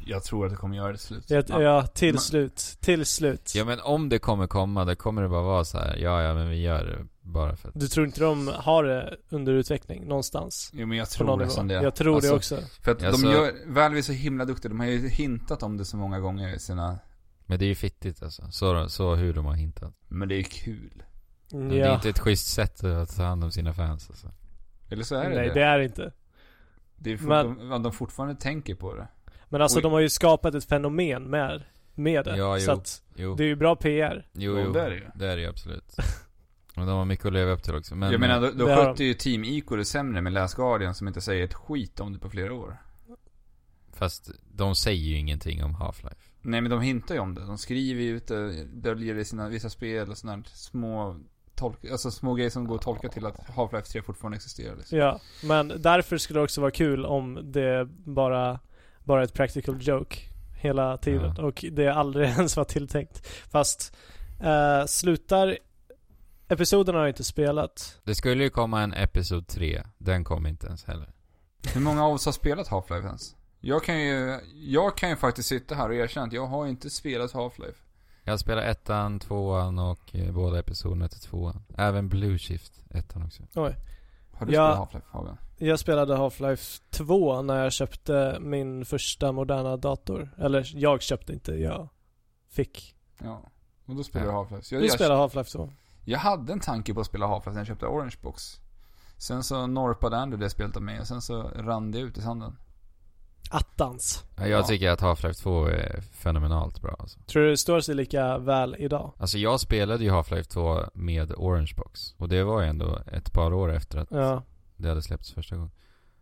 [SPEAKER 1] Jag tror att det kommer göra det till slut.
[SPEAKER 3] Jag,
[SPEAKER 1] Ja.
[SPEAKER 3] ja, till
[SPEAKER 1] men-
[SPEAKER 3] slut. Till slut.
[SPEAKER 2] Ja men om det kommer komma, då kommer det bara vara så här. ja ja men vi gör det bara för att
[SPEAKER 3] Du tror inte de har det under utveckling någonstans?
[SPEAKER 1] Jo, men jag
[SPEAKER 3] På
[SPEAKER 1] tror
[SPEAKER 3] någon
[SPEAKER 1] nästan
[SPEAKER 3] nivå.
[SPEAKER 1] det.
[SPEAKER 3] Jag tror
[SPEAKER 1] Alltså,
[SPEAKER 3] det också.
[SPEAKER 1] För att
[SPEAKER 2] Alltså-
[SPEAKER 1] de gör, Valve är så himla duktiga. De har ju hintat om det så många gånger i sina...
[SPEAKER 2] Men det är ju fittigt alltså, så, så hur de har hintat
[SPEAKER 1] Men det är ju kul.
[SPEAKER 2] Men
[SPEAKER 3] Mm,
[SPEAKER 2] Det är
[SPEAKER 3] Ja.
[SPEAKER 2] inte ett schysst sätt att ta hand om sina fans alltså.
[SPEAKER 1] Eller så är det
[SPEAKER 3] Nej,
[SPEAKER 1] det.
[SPEAKER 3] det är det inte.
[SPEAKER 1] det är fort,
[SPEAKER 3] Men-
[SPEAKER 1] de, de fortfarande tänker på det.
[SPEAKER 3] Men alltså
[SPEAKER 1] Oj.
[SPEAKER 3] de har ju skapat ett fenomen med, med det.
[SPEAKER 2] Ja, jo.
[SPEAKER 3] så att
[SPEAKER 2] Jo,
[SPEAKER 3] det är ju bra PR.
[SPEAKER 2] jo,
[SPEAKER 1] Ja,
[SPEAKER 2] jo,
[SPEAKER 1] det är det ju.
[SPEAKER 2] det är det ju
[SPEAKER 3] *laughs*
[SPEAKER 2] absolut Men de har mycket att leva upp till också men, eh,
[SPEAKER 1] jag menar, då, då
[SPEAKER 3] det har
[SPEAKER 1] skötte ju Team Ico det sämre med Last Guardian som inte säger ett skit om det på flera år.
[SPEAKER 2] Fast de säger ju ingenting om Half-Life
[SPEAKER 1] Nej men de hintar ju om det. De skriver ju ut det, döljer det i sina vissa spel och sådana små tolka, alltså små grejer som går att tolka till att Half-Life 3 fortfarande existerar liksom.
[SPEAKER 3] Ja, men därför skulle det också vara kul om det bara, bara är ett practical joke hela tiden.
[SPEAKER 2] Ja.
[SPEAKER 3] Och det aldrig *laughs* ens var tilltänkt. Fast eh, slutar episoderna har jag inte spelat.
[SPEAKER 2] Det skulle ju komma en Episod 3. Den kom inte ens heller.
[SPEAKER 1] Hur många av oss har spelat Half-Life ens? Jag kan ju, jag kan ju faktiskt sitta här och erkänna att jag har inte spelat Half-Life.
[SPEAKER 2] Jag spelar ettan, tvåan och eh, båda episoderna till tvåan. Även Blue Shift, ettan också.
[SPEAKER 1] Har du
[SPEAKER 3] Ja.
[SPEAKER 1] spelat Half-Life Fabian?
[SPEAKER 3] Jag spelade Half-Life 2 när jag köpte min första moderna dator. Eller jag köpte inte, jag fick.
[SPEAKER 1] Ja. Och då spelar
[SPEAKER 2] Ja.
[SPEAKER 1] du Half-Life. Så
[SPEAKER 3] Du
[SPEAKER 1] jag, jag,
[SPEAKER 3] spelade Half-Life 2.
[SPEAKER 1] jag hade en tanke på att spela Half-Life när jag köpte Orange Box. Sen så norpade Andrew det spelet av mig och sen så rann det ut i sanden.
[SPEAKER 3] Attans.
[SPEAKER 2] Ja, Jag
[SPEAKER 1] Ja.
[SPEAKER 2] tycker att Half-Life 2 är fenomenalt bra alltså.
[SPEAKER 3] Tror du det står sig lika väl idag?
[SPEAKER 2] Alltså jag spelade ju Half-Life 2 med Orange Box. Och det var ju ändå ett par år efter att
[SPEAKER 3] Ja.
[SPEAKER 2] det hade släppts första gången.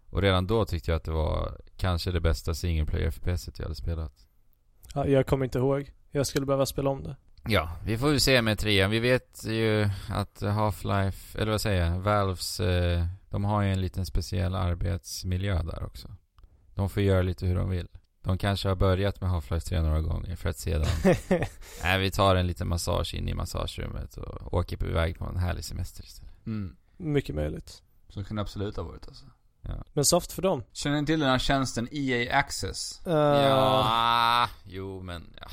[SPEAKER 2] Och redan då tyckte jag att det var kanske det bästa single player FPSet jag hade spelat.
[SPEAKER 3] ja. Jag kommer inte ihåg. Jag skulle behöva spela om det. *laughs*
[SPEAKER 2] Ja, vi får ju se med trean. Vi vet ju att Half-Life, eller vad säger jag, Valves, eh, de har ju en liten speciell arbetsmiljö där också. De får göra lite hur de vill. De kanske har börjat med Half-Life 3 några gånger för att *laughs* sedan Nej, vi tar en liten massage in i massagerummet och åker iväg på en härlig semester istället.
[SPEAKER 1] Mm.
[SPEAKER 3] Mycket möjligt.
[SPEAKER 1] Så kan det absolut ha varit alltså.
[SPEAKER 3] Men soft för dem.
[SPEAKER 1] Känner ni till den här tjänsten EA Access?
[SPEAKER 3] Eh,
[SPEAKER 2] Ja, jo men ja.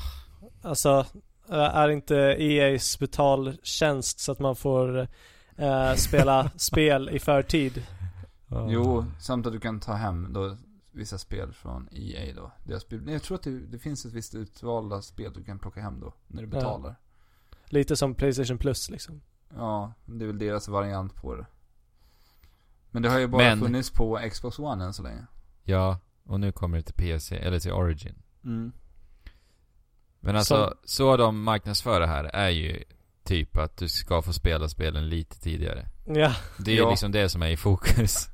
[SPEAKER 3] Alltså, eh, är inte EA's betaltjänst så att man får eh,
[SPEAKER 1] *laughs*
[SPEAKER 3] spela spel i förtid?
[SPEAKER 1] Jo, samt att du kan ta hem då vissa spel från EA då. Deras, bib- nej, jag tror att det, det finns ett visst utvalda spel du kan plocka hem då, när du
[SPEAKER 3] Ja.
[SPEAKER 1] betalar.
[SPEAKER 3] Lite som Playstation Plus liksom.
[SPEAKER 1] Ja, det är väl deras variant på det. Men det har ju bara
[SPEAKER 2] Men-
[SPEAKER 1] funnits på Xbox One än så länge.
[SPEAKER 2] Ja, och nu kommer det till PC, eller till Origin.
[SPEAKER 1] Mm.
[SPEAKER 2] Men alltså, så de marknadsför det här är ju typ att du ska få spela spelen lite tidigare.
[SPEAKER 3] Ja,
[SPEAKER 2] Det är ju
[SPEAKER 1] Ja.
[SPEAKER 2] liksom det som är i fokus.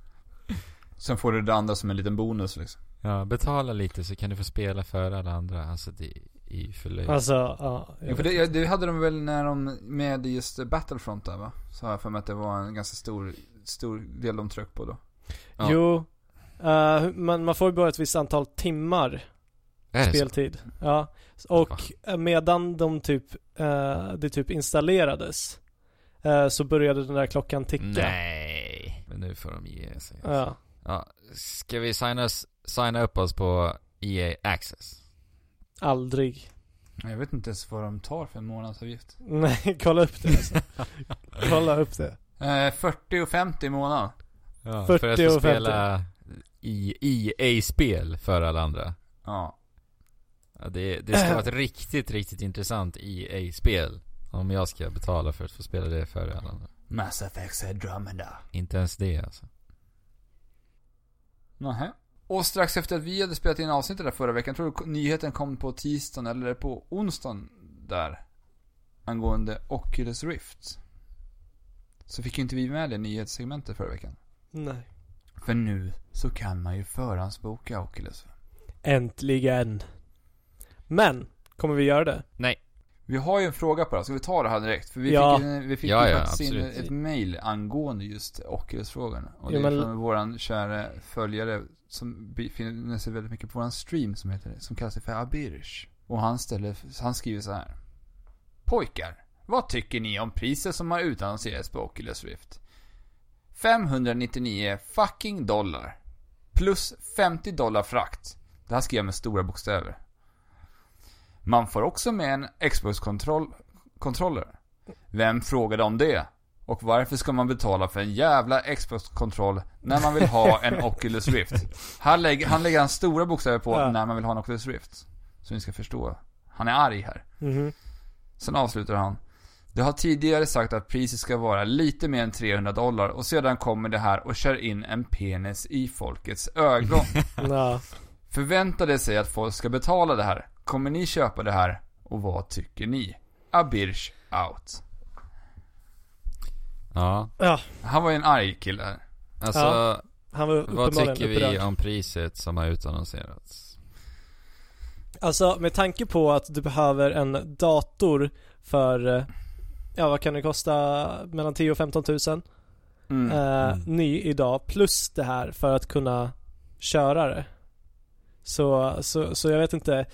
[SPEAKER 1] Sen får du det andra som en liten bonus liksom.
[SPEAKER 2] *laughs* Ja, betala lite så kan du få spela före alla andra. Alltså det är ju för löjligt.
[SPEAKER 3] alltså, ja. jag
[SPEAKER 1] Ja, för
[SPEAKER 3] vet.
[SPEAKER 1] det, det hade de väl när de, med just Battlefront där va? Så har jag för mig att det var en ganska stor, stor del de tryck på då.
[SPEAKER 2] ja.
[SPEAKER 3] Jo, eh, men man får ju bara ett visst antal timmar
[SPEAKER 2] är det så?
[SPEAKER 3] speltid. Ja. Och eh, medan de typ, eh, det typ installerades eh, så började den där klockan ticka.
[SPEAKER 2] Nej. Men nu får de ge sig.
[SPEAKER 3] Ja.
[SPEAKER 2] Ja, ska vi signa, oss, signa upp oss på EA Access?
[SPEAKER 3] Aldrig. *laughs*
[SPEAKER 1] Jag vet inte ens vad de tar för en månadsavgift.
[SPEAKER 3] Nej, kolla upp det
[SPEAKER 2] *laughs*
[SPEAKER 3] alltså. kolla upp det.
[SPEAKER 1] Eh, 40 och 50 i månaden.
[SPEAKER 2] Ja,
[SPEAKER 3] 40
[SPEAKER 2] för att få
[SPEAKER 3] och 50.
[SPEAKER 2] spela i EA-spel för alla andra.
[SPEAKER 1] Ja.
[SPEAKER 2] Ja, det, det
[SPEAKER 3] *clears throat*
[SPEAKER 2] ska vara ett riktigt, riktigt intressant EA-spel. Om jag ska betala för att få spela det för alla andra.
[SPEAKER 1] Mass Effect Andromeda.
[SPEAKER 2] Inte ens det alltså.
[SPEAKER 1] Nähä. Och strax efter att vi hade spelat in avsnittet där förra veckan, tror du nyheten kom på tisdagen eller på onsdagen där? Angående Oculus Rift. Så fick ju inte vi med det nyhetssegmentet förra veckan.
[SPEAKER 3] Nej.
[SPEAKER 1] För nu så kan man ju förhandsboka Oculus.
[SPEAKER 3] Äntligen. Men, kommer vi göra det?
[SPEAKER 2] Nej.
[SPEAKER 1] Vi har ju en fråga på det här. ska vi ta det här direkt? För vi
[SPEAKER 3] Ja.
[SPEAKER 1] fick, ju- vi fick
[SPEAKER 2] Ja,
[SPEAKER 1] ju
[SPEAKER 2] ja,
[SPEAKER 1] faktiskt in
[SPEAKER 2] absolut.
[SPEAKER 1] ett mail angående just Oculus-frågan. Och det
[SPEAKER 3] Jo,
[SPEAKER 1] är
[SPEAKER 3] men-
[SPEAKER 1] från våran kära följare som befinner sig väldigt mycket på våran stream som heter som kallas för Abirish. Och han ställer, han skriver så här. Pojkar, vad tycker ni om priset som har utannonserats på Oculus Rift? 599 fucking dollar. Plus 50 dollar frakt. Det här skrev jag med stora bokstäver. Man får också med en Xbox-kontroller. Vem frågade om det? Och varför ska man betala för en jävla Xbox-kontroll när man vill ha en Oculus Rift? Han lägger, han lägger han stora bokstäver på
[SPEAKER 3] Ja.
[SPEAKER 1] när man vill ha en Oculus Rift. Så ni ska förstå. Han är arg här.
[SPEAKER 2] *laughs*
[SPEAKER 3] Mhm.
[SPEAKER 1] Sen avslutar han. Det har tidigare sagt att priset ska vara lite mer än 300 dollar och sedan kommer det här och kör in en penis i folkets ögon.
[SPEAKER 3] Ja.
[SPEAKER 1] Förväntade sig att folk ska betala det här. Kommer ni köpa det här? Och vad tycker ni? Abirsch out.
[SPEAKER 2] Ja,
[SPEAKER 3] ja.
[SPEAKER 1] Han var ju en arg kille. här.
[SPEAKER 2] alltså
[SPEAKER 3] Ja, Han var
[SPEAKER 2] vad
[SPEAKER 3] uppenbarligen
[SPEAKER 2] tycker
[SPEAKER 3] upprörd.
[SPEAKER 2] vi om priset som har utannonserats?
[SPEAKER 3] Alltså med tanke på att du behöver en dator för eh, ja vad kan det kosta, mellan 10 och 15 tusen
[SPEAKER 1] Mm.
[SPEAKER 3] eh,
[SPEAKER 2] Mm.
[SPEAKER 3] ny idag plus det här för att kunna köra det. Så, så, så jag vet inte.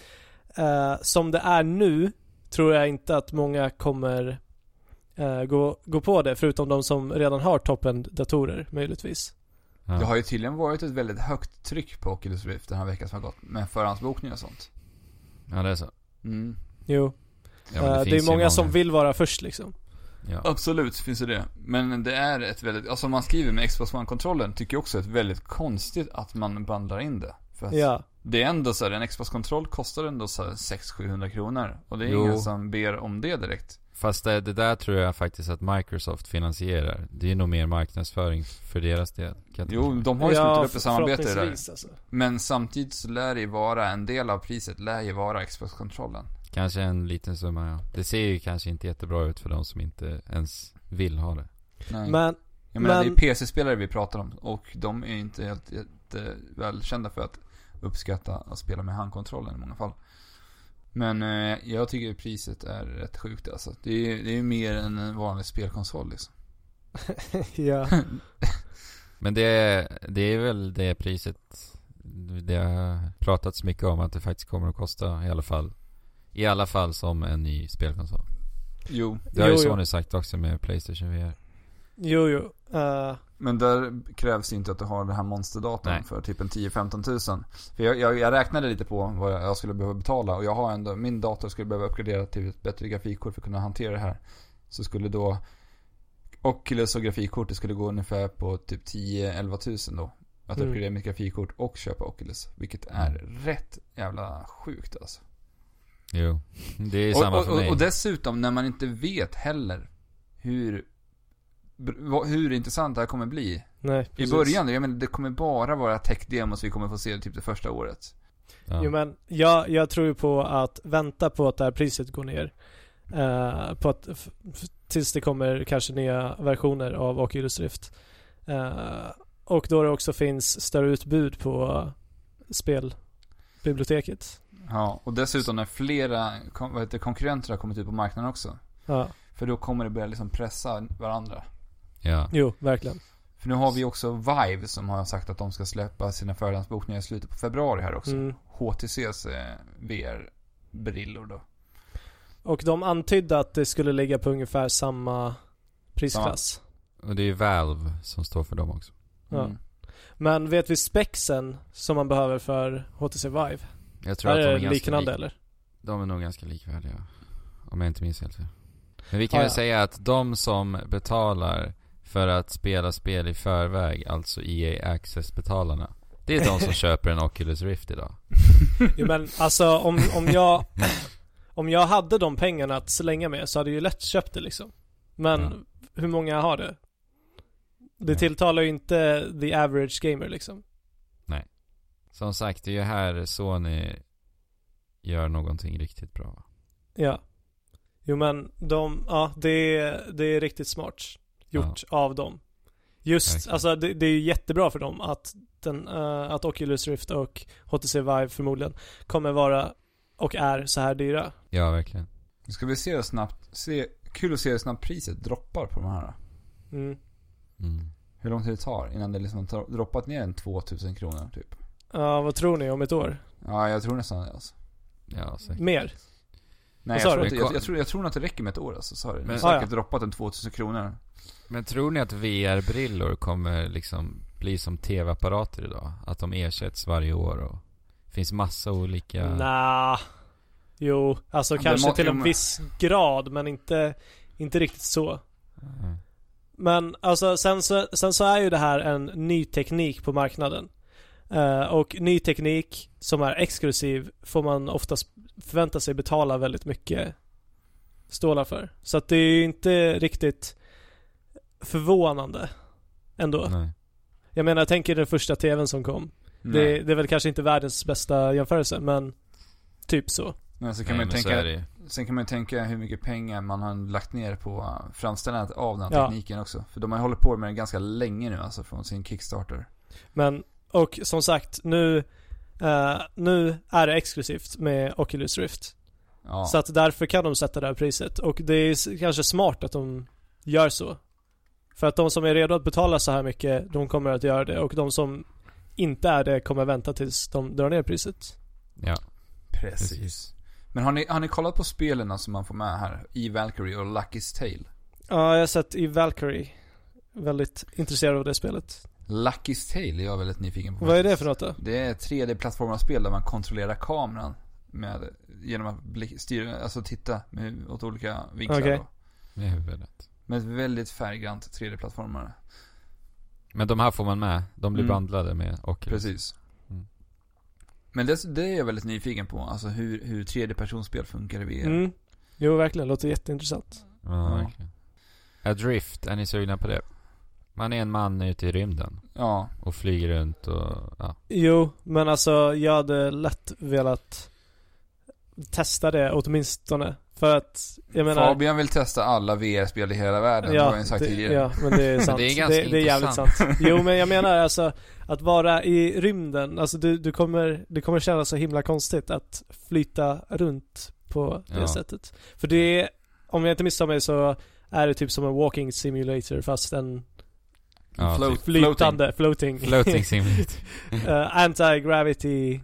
[SPEAKER 3] Eh, som det är nu tror jag inte att många kommer eh, gå, gå på det förutom de som redan har toppen-datorer möjligtvis.
[SPEAKER 2] Ja.
[SPEAKER 1] Det har ju tydligen varit ett väldigt högt tryck på Oculus Rift den här veckan som har gått med förhandsbokningar och sånt.
[SPEAKER 2] ja, det är så.
[SPEAKER 1] Mm.
[SPEAKER 3] Jo,
[SPEAKER 2] Ja, men
[SPEAKER 3] eh, det,
[SPEAKER 2] finns
[SPEAKER 3] är
[SPEAKER 2] ju
[SPEAKER 3] många som vill vara först liksom.
[SPEAKER 2] Ja.
[SPEAKER 1] Absolut finns det det. Men det är ett väldigt, alltså man skriver med Xbox One-kontrollen tycker jag också är ett väldigt konstigt att man bandlar in det. För att
[SPEAKER 3] Ja.
[SPEAKER 1] det är ändå så här, en Xbox-kontroll kostar ändå så här 600-700 kronor. Och det är
[SPEAKER 2] Jo.
[SPEAKER 1] ingen som ber om det direkt.
[SPEAKER 2] Fast det, det där tror jag faktiskt att Microsoft finansierar. Det är nog mer marknadsföring för deras del. Kan jag tänka
[SPEAKER 1] Jo,
[SPEAKER 2] mig.
[SPEAKER 1] de har ju
[SPEAKER 3] Ja,
[SPEAKER 1] slutat upp ett samarbete där. Mm.
[SPEAKER 3] förhoppningsvis, Alltså.
[SPEAKER 1] Men samtidigt så lär det ju vara, en del av priset lär ju vara Xbox-kontrollen.
[SPEAKER 2] Kanske en liten summa, ja. Det ser ju kanske inte jättebra ut för de som inte ens vill ha det.
[SPEAKER 1] Nej.
[SPEAKER 3] Men
[SPEAKER 1] Jag menar,
[SPEAKER 3] Men-
[SPEAKER 1] det är ju PC-spelare vi pratar om och de är ju inte helt, helt eh, välkända för att uppskatta att spela med handkontrollen i många fall. Men eh, jag tycker priset är rätt sjukt alltså. Det är ju det är ju mer än en vanlig spelkonsol liksom.
[SPEAKER 2] *laughs*
[SPEAKER 3] ja,
[SPEAKER 2] Men det, det är väl det priset det har pratats mycket om att det faktiskt kommer att kosta i alla fall. I alla fall som en ny spelkonsol.
[SPEAKER 1] Jo,
[SPEAKER 2] Det har ju
[SPEAKER 3] Jo, jo.
[SPEAKER 2] Sony sagt också med Playstation VR.
[SPEAKER 3] jo, jo. Eh,
[SPEAKER 1] men där krävs ju inte att du har den här monsterdatorn
[SPEAKER 2] Nej.
[SPEAKER 1] för typ en 10-15 tusen. För jag, jag, jag räknade lite på vad jag, jag skulle behöva betala och jag har ändå, min dator skulle behöva uppgradera till ett bättre grafikkort för att kunna hantera det här. Så skulle då Oculus och grafikkortet skulle gå ungefär på typ 10-11 tusen då. Att
[SPEAKER 3] Mm.
[SPEAKER 1] uppgradera mitt grafikkort och köpa Oculus. Vilket är rätt jävla sjukt alltså.
[SPEAKER 2] Jo, *laughs* det är
[SPEAKER 1] Och,
[SPEAKER 2] samma
[SPEAKER 1] och,
[SPEAKER 2] för mig.
[SPEAKER 1] och, och dessutom när man inte vet heller hur, br- vad- hur intressant det här kommer bli.
[SPEAKER 3] nej,
[SPEAKER 1] I början, jag menar, det kommer bara vara tech-demos vi kommer få se typ det första året.
[SPEAKER 2] ja.
[SPEAKER 3] Jo men jag, jag tror ju på att vänta på att det här priset går ner. Eh, på att, f- f- tills det kommer kanske nya versioner av Oculus Rift. Eh, och då det också finns större utbud på spelbiblioteket.
[SPEAKER 1] Ja, och dessutom när flera kon- vad heter, det, konkurrenter har kommit ut på marknaden också.
[SPEAKER 3] Ja,
[SPEAKER 1] För då kommer det börja liksom pressa varandra.
[SPEAKER 2] ja.
[SPEAKER 3] jo, verkligen.
[SPEAKER 1] För nu har vi också Vive som har sagt att de ska släppa sina förhandsbokningar i slutet på februari här också.
[SPEAKER 3] Mm.
[SPEAKER 1] HTCs eh, VR-brillor då.
[SPEAKER 3] Och de antydde att det skulle ligga på ungefär samma prisklass.
[SPEAKER 2] Och det är ju Valve som står för dem också.
[SPEAKER 3] Ja.
[SPEAKER 1] Mm.
[SPEAKER 3] Men vet vi spexen som man behöver för HTC Vive?
[SPEAKER 2] Jag tror
[SPEAKER 3] Är
[SPEAKER 2] att de är,
[SPEAKER 3] det
[SPEAKER 2] ganska
[SPEAKER 3] Eh, liknande
[SPEAKER 2] lik-
[SPEAKER 3] eller?
[SPEAKER 2] De är nog ganska likvärdiga. Om jag inte minns helt fel. Men vi kan
[SPEAKER 3] Ah,
[SPEAKER 2] väl
[SPEAKER 3] ja.
[SPEAKER 2] säga att de som betalar för att spela spel i förväg, alltså EA Access-betalarna. Det är de
[SPEAKER 3] *laughs*
[SPEAKER 2] som köper en Oculus Rift idag.
[SPEAKER 3] Jo men alltså om, om jag Om jag hade de pengarna att slänga med så hade jag ju lätt köpt det liksom Men
[SPEAKER 2] Ja.
[SPEAKER 3] hur många har det? Det
[SPEAKER 2] Ja.
[SPEAKER 3] tilltalar ju inte the average gamer liksom
[SPEAKER 2] Som sagt, det är ju här Sony gör någonting riktigt bra. va?
[SPEAKER 3] Ja Jo men de, ja det, är- det är riktigt smart gjort av dem Just,
[SPEAKER 2] Verkligen.
[SPEAKER 3] alltså det, det är ju jättebra för dem att den, eh, att Oculus Rift och HTC Vive förmodligen kommer vara och är så här dyra
[SPEAKER 2] Ja, verkligen.
[SPEAKER 1] Nu ska vi se hur snabbt, se, kul att se hur snabbt priset droppar på de här.
[SPEAKER 3] mm.
[SPEAKER 2] Mm.
[SPEAKER 1] Hur lång tid det tar innan det liksom har droppat ner en 2000 kronor typ.
[SPEAKER 3] Ja, vad tror ni om ett år?
[SPEAKER 1] Ja, jag tror nästan det alltså.
[SPEAKER 2] Ja, säkert.
[SPEAKER 3] Mer?
[SPEAKER 1] Nej,
[SPEAKER 3] Vad
[SPEAKER 1] jag
[SPEAKER 3] sa
[SPEAKER 1] tror,
[SPEAKER 2] du?
[SPEAKER 1] inte, jag, jag, tror, jag tror nog att det räcker med ett år alltså, sorry. Men,
[SPEAKER 2] Men-
[SPEAKER 1] säkert
[SPEAKER 3] Ah, ja.
[SPEAKER 1] droppat en 2000 kronor.
[SPEAKER 2] Men tror ni att VR-brillor kommer liksom bli som tv-apparater idag? Att de ersätts varje år och finns massa olika...
[SPEAKER 3] Nja. Jo, alltså
[SPEAKER 1] Ja, det
[SPEAKER 3] kanske
[SPEAKER 1] må-
[SPEAKER 3] till
[SPEAKER 1] jo,
[SPEAKER 3] en
[SPEAKER 1] men-
[SPEAKER 3] viss grad men inte, inte riktigt så.
[SPEAKER 2] Mm.
[SPEAKER 3] Men alltså sen så, sen så är ju det här en ny teknik på marknaden. Eh, och ny teknik som är exklusiv får man oftast förvänta sig betala väldigt mycket stålar för. Så att det är ju inte riktigt förvånande ändå.
[SPEAKER 2] Nej.
[SPEAKER 3] Jag menar, jag tänker den första tvn som kom.
[SPEAKER 1] Nej.
[SPEAKER 3] Det, det är väl kanske inte världens bästa jämförelse, men typ så.
[SPEAKER 1] Men så kan
[SPEAKER 2] Nej,
[SPEAKER 1] man ju
[SPEAKER 2] men så är det
[SPEAKER 1] tänka,
[SPEAKER 2] ju.
[SPEAKER 1] sen kan man ju tänka hur mycket pengar man har lagt ner på uh, framställandet av den här
[SPEAKER 3] Ja.
[SPEAKER 1] tekniken också. För de har ju hållit på med det ganska länge nu alltså från sin Kickstarter.
[SPEAKER 3] Men, och som sagt, nu, eh, nu är det exklusivt med Oculus Rift.
[SPEAKER 1] Ja.
[SPEAKER 3] Så att därför kan de sätta det här priset. Och det är s- kanske smart att de gör så. För att de som är redo att betala så här mycket, de kommer att göra det. Och de som inte är det kommer vänta tills de drar ner priset.
[SPEAKER 2] Ja.
[SPEAKER 1] Precis. Men har ni, har ni kollat på spelen som man får med här? I Valkyrie och Lucky's Tale?
[SPEAKER 3] Ja, jag har sett i Valkyrie. Väldigt intresserad av det spelet.
[SPEAKER 1] Lucky's Tale är jag väldigt nyfiken på.
[SPEAKER 3] Vad är det för något då?
[SPEAKER 1] Det är ett 3D-plattformarspel där man kontrollerar kameran med, genom att blick, styra, alltså titta med, åt olika vinklar.
[SPEAKER 3] Okej.
[SPEAKER 1] Då.
[SPEAKER 2] Med huvudet.
[SPEAKER 1] Men ett väldigt färggrant 3D-plattformare.
[SPEAKER 2] Men de här får man med. De blir
[SPEAKER 1] Mm.
[SPEAKER 2] bandlade med Oculus.
[SPEAKER 1] Precis.
[SPEAKER 2] Mm.
[SPEAKER 1] Men det, det är jag väldigt nyfiken på, alltså hur, hur 3D-personspel funkar i VR.
[SPEAKER 3] Mm. Jo, verkligen. Låter jätteintressant.
[SPEAKER 2] Ja,
[SPEAKER 1] Ja.
[SPEAKER 2] verkligen. Adrift, är ni sugna på det? Man är en man ute i rymden
[SPEAKER 1] Ja,
[SPEAKER 2] och flyger runt och ja.
[SPEAKER 3] Jo, men alltså jag hade lätt velat testa det åtminstone. För att, jag menar...
[SPEAKER 1] Fabian vill testa alla VR-spel i hela världen, det har jag ju sagt
[SPEAKER 3] äh, det,
[SPEAKER 1] tidigare.
[SPEAKER 3] Ja, men
[SPEAKER 1] *laughs*
[SPEAKER 3] det är sant.
[SPEAKER 2] det är ganska
[SPEAKER 3] det, är jävligt sant.
[SPEAKER 2] intressant.
[SPEAKER 3] Jo, men jag menar alltså att vara i rymden, alltså du, du kommer, det kommer kännas så himla konstigt att flyta runt på det
[SPEAKER 2] Ja.
[SPEAKER 3] sättet. För det är, om jag inte misstar mig så är det typ som en walking simulator fast en
[SPEAKER 2] ja
[SPEAKER 1] Float.
[SPEAKER 2] typ.
[SPEAKER 3] flytande, floating, *laughs*
[SPEAKER 2] Floating simulator.
[SPEAKER 3] Eh, anti-gravity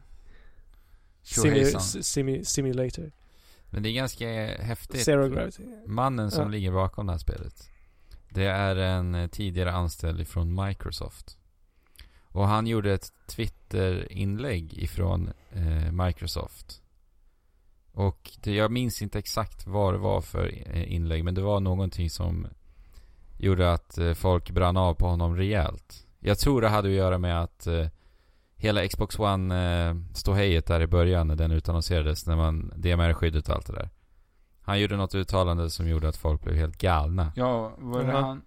[SPEAKER 3] simu-
[SPEAKER 1] Tjohejsan.
[SPEAKER 3] simu- simulator.
[SPEAKER 2] Men det är ganska häftigt.
[SPEAKER 3] Zero gravity.
[SPEAKER 2] Mannen som
[SPEAKER 3] Ja.
[SPEAKER 2] ligger bakom det här spelet. Det är en eh, tidigare anställd från Microsoft. Och han gjorde ett Twitter-inlägg ifrån eh, Microsoft. Och det, jag minns inte exakt vad det var för eh, inlägg. Men det var någonting som gjorde att eh, folk brann av på honom rejält. Jag tror det hade att göra med att eh, hela Xbox One eh, ståhejet där i början när den utannonserades. När man, DMR-skyddet och allt det där. Han gjorde något uttalande som gjorde att folk blev helt galna.
[SPEAKER 1] Ja, var det
[SPEAKER 3] Jaha.
[SPEAKER 1] han?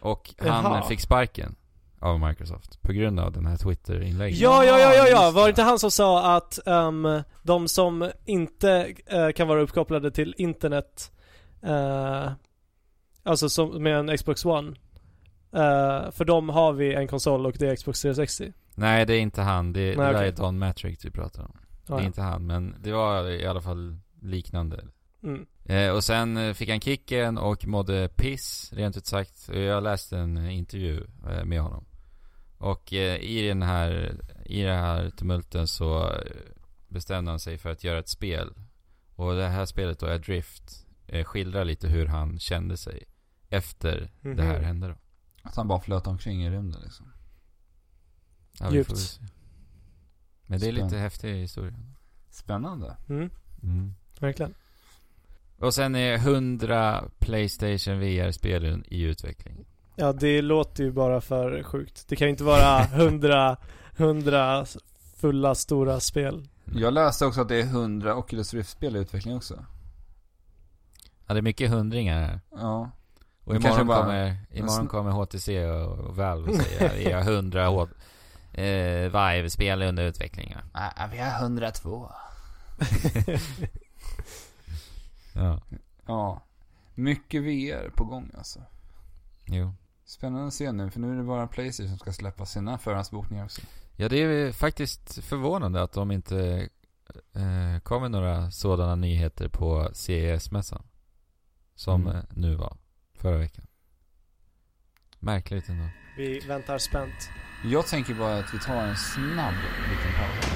[SPEAKER 2] Och han
[SPEAKER 3] Jaha.
[SPEAKER 2] fick sparken av Microsoft på grund av den här Twitter-inlägget.
[SPEAKER 3] Ja, ja, ja, ja, ja.
[SPEAKER 1] just
[SPEAKER 3] Var
[SPEAKER 1] det.
[SPEAKER 3] det inte han som sa att ehm, de som inte eh, kan vara uppkopplade till internet, eh, alltså som, med en Xbox One, eh, för dem har vi en konsol och det är Xbox 360.
[SPEAKER 2] Nej, det är inte han. Det, det
[SPEAKER 3] Nej,
[SPEAKER 2] där
[SPEAKER 3] okej.
[SPEAKER 2] är Don Matrick vi pratar om.
[SPEAKER 3] Ja,
[SPEAKER 2] Det
[SPEAKER 3] ja.
[SPEAKER 2] är inte han, men det var i alla fall liknande.
[SPEAKER 3] Mm.
[SPEAKER 2] Eh, och sen eh, fick han kicken och mådde piss, rent ut sagt. Eh, Jag läste en eh, intervju eh, med honom. Och eh, i den här, i den här tumulten så eh, bestämde han sig för att göra ett spel. Och det här spelet då, Adrift, eh, skildrar lite hur han kände sig efter det här
[SPEAKER 3] Mhm.
[SPEAKER 2] hände då.
[SPEAKER 1] Att han bara flöt omkring i rymden liksom.
[SPEAKER 2] Ja, vi får
[SPEAKER 3] Djupt.
[SPEAKER 2] väl se. Men det är lite
[SPEAKER 1] Spännande.
[SPEAKER 2] häftig historia.
[SPEAKER 1] Spännande.
[SPEAKER 3] Mm. Verkligen.
[SPEAKER 2] Och sen är 100 Playstation VR-spelen i utveckling.
[SPEAKER 3] Ja, det låter ju bara för sjukt. Det kan ju
[SPEAKER 2] *laughs*
[SPEAKER 3] inte vara hundra, hundra fulla stora spel.
[SPEAKER 1] Jag läste också att det är 100 Oculus Rift-spel i utveckling också.
[SPEAKER 2] Ja, det är mycket hundringar här.
[SPEAKER 1] Ja.
[SPEAKER 2] Och
[SPEAKER 1] Det kanske
[SPEAKER 2] imorgon,
[SPEAKER 1] bara- Alltså-
[SPEAKER 2] kommer, imorgon
[SPEAKER 1] sn-
[SPEAKER 2] kommer HTC och, och Valve och säga vi har
[SPEAKER 1] *laughs*
[SPEAKER 2] 100 H- eh, Vive-spel under utveckling. va?
[SPEAKER 1] Ah, vi har 102.
[SPEAKER 2] Ja.
[SPEAKER 1] Ja. Mycket VR på gång alltså.
[SPEAKER 2] Jo.
[SPEAKER 1] Spännande att se nu, för nu är det bara Playstation som ska släppa sina förhandsbokningar också.
[SPEAKER 2] Ja, det är ju faktiskt förvånande att de inte eh, kommer några sådana nyheter på CES-mässan. Som
[SPEAKER 1] Mm.
[SPEAKER 2] eh, nu var, förra veckan. Märkligt ändå.
[SPEAKER 3] Vi väntar spänt.
[SPEAKER 1] Jag tänker bara att vi tar en snabb liten paus.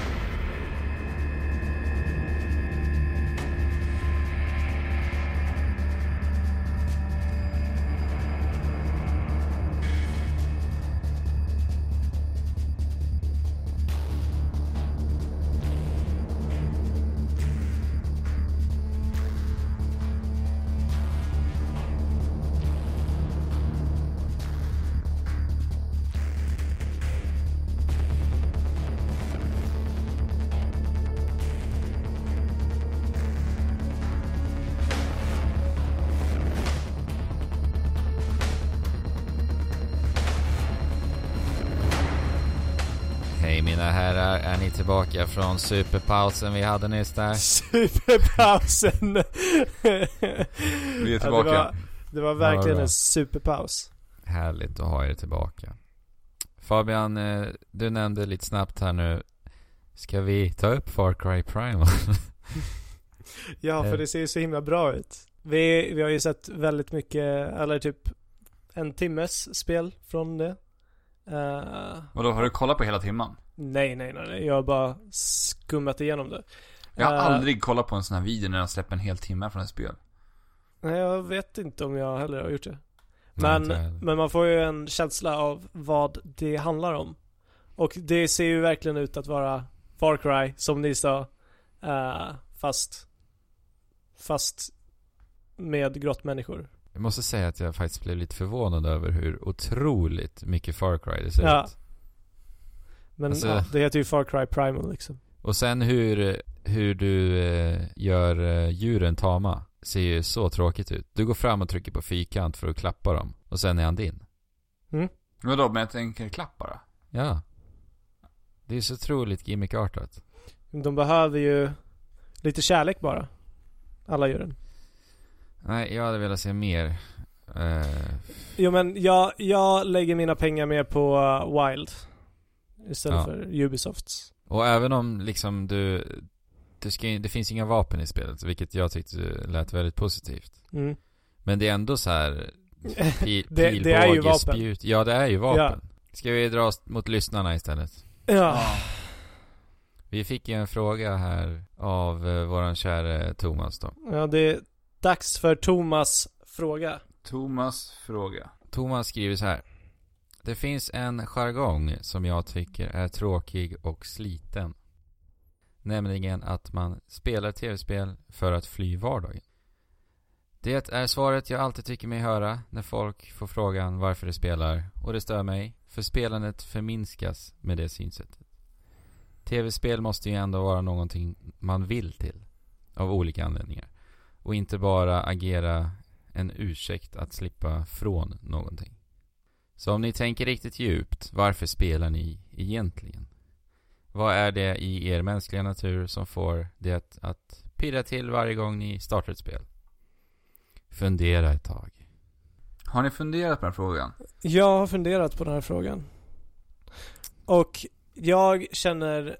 [SPEAKER 2] Hej mina herrar, är ni tillbaka från superpausen vi hade nyss där?
[SPEAKER 3] Superpausen! *laughs*
[SPEAKER 1] Vi är
[SPEAKER 3] Ja,
[SPEAKER 1] tillbaka.
[SPEAKER 3] det, var, det var
[SPEAKER 2] Ja, det
[SPEAKER 3] verkligen
[SPEAKER 2] var.
[SPEAKER 3] en superpaus.
[SPEAKER 2] Härligt att ha er tillbaka. Fabian, eh, du nämnde *laughs* lite snabbt här nu. Ska vi ta upp Far Cry Primal?
[SPEAKER 3] Ja, för det ser ju så himla bra ut. Vi, vi har ju sett väldigt mycket, eller typ en timmes spel från det. Eh,
[SPEAKER 1] Och då har du kollat på hela timman?
[SPEAKER 3] nej, nej, nej, nej. Jag har bara skummat igenom det.
[SPEAKER 1] Jag har
[SPEAKER 3] Eh,
[SPEAKER 1] aldrig kollat på en sån här video när de släpper en hel timme från ett spel.
[SPEAKER 3] Nej, jag vet inte om jag heller har gjort det.
[SPEAKER 2] Nej,
[SPEAKER 3] Men,
[SPEAKER 2] inte jag heller.
[SPEAKER 3] men man får ju en känsla av vad det handlar om. Och det ser ju verkligen ut att vara Far Cry, som ni sa. eh, fast, fast med grottmänniskor.
[SPEAKER 2] Jag måste säga att jag faktiskt blev lite förvånad över hur otroligt mycket Far Cry det ser
[SPEAKER 3] Ja.
[SPEAKER 2] ut.
[SPEAKER 3] Men
[SPEAKER 2] Alltså-
[SPEAKER 3] ja, det heter ju Far Cry Primal liksom.
[SPEAKER 2] Och sen hur, hur du eh, gör eh, djuren tama ser ju så tråkigt ut. Du går fram och trycker på fyrkant för att klappa dem och sen är han din.
[SPEAKER 3] Mm.
[SPEAKER 1] Vadå, men jag tänker klapp bara?
[SPEAKER 2] Ja. Det är så otroligt gimmickartat.
[SPEAKER 3] De behöver ju lite kärlek bara. Alla djuren.
[SPEAKER 2] Nej, jag hade velat se mer. Eh,
[SPEAKER 3] Jo men jag, jag lägger mina pengar mer på eh, Wild. Istället
[SPEAKER 2] Ja.
[SPEAKER 3] för Ubisofts.
[SPEAKER 2] och även om liksom du, du ska, det finns inga vapen i spelet, vilket jag tyckte lät väldigt positivt.
[SPEAKER 3] Mm.
[SPEAKER 2] Men det är ändå så
[SPEAKER 3] *laughs*
[SPEAKER 2] här pi,
[SPEAKER 3] Det- det är ju
[SPEAKER 2] pilbåge,
[SPEAKER 3] vapen.
[SPEAKER 2] spjut. Ja, det är ju vapen. Ska vi dra oss mot lyssnarna istället?
[SPEAKER 3] Ja.
[SPEAKER 2] Vi fick ju en fråga här av eh, våran käre Thomas då.
[SPEAKER 3] ja, det är dags för Thomas fråga.
[SPEAKER 1] Thomas fråga.
[SPEAKER 2] Thomas skriver så här. Det finns en jargong som jag tycker är tråkig och sliten. Nämligen att man spelar tv-spel för att fly vardagen. Det är svaret jag alltid tycker mig höra när folk får frågan varför de spelar och det stör mig, för spelandet förminskas med det synsättet. Tv-spel måste ju ändå vara någonting man vill till, av olika anledningar. Och inte bara agera en ursäkt att slippa från någonting. Så om ni tänker riktigt djupt, varför spelar ni egentligen? Vad är det i er mänskliga natur som får det att, att pirra till varje gång ni startar ett spel? Fundera ett tag.
[SPEAKER 1] Har ni funderat på den här frågan?
[SPEAKER 3] Jag har funderat på den här frågan. Och jag känner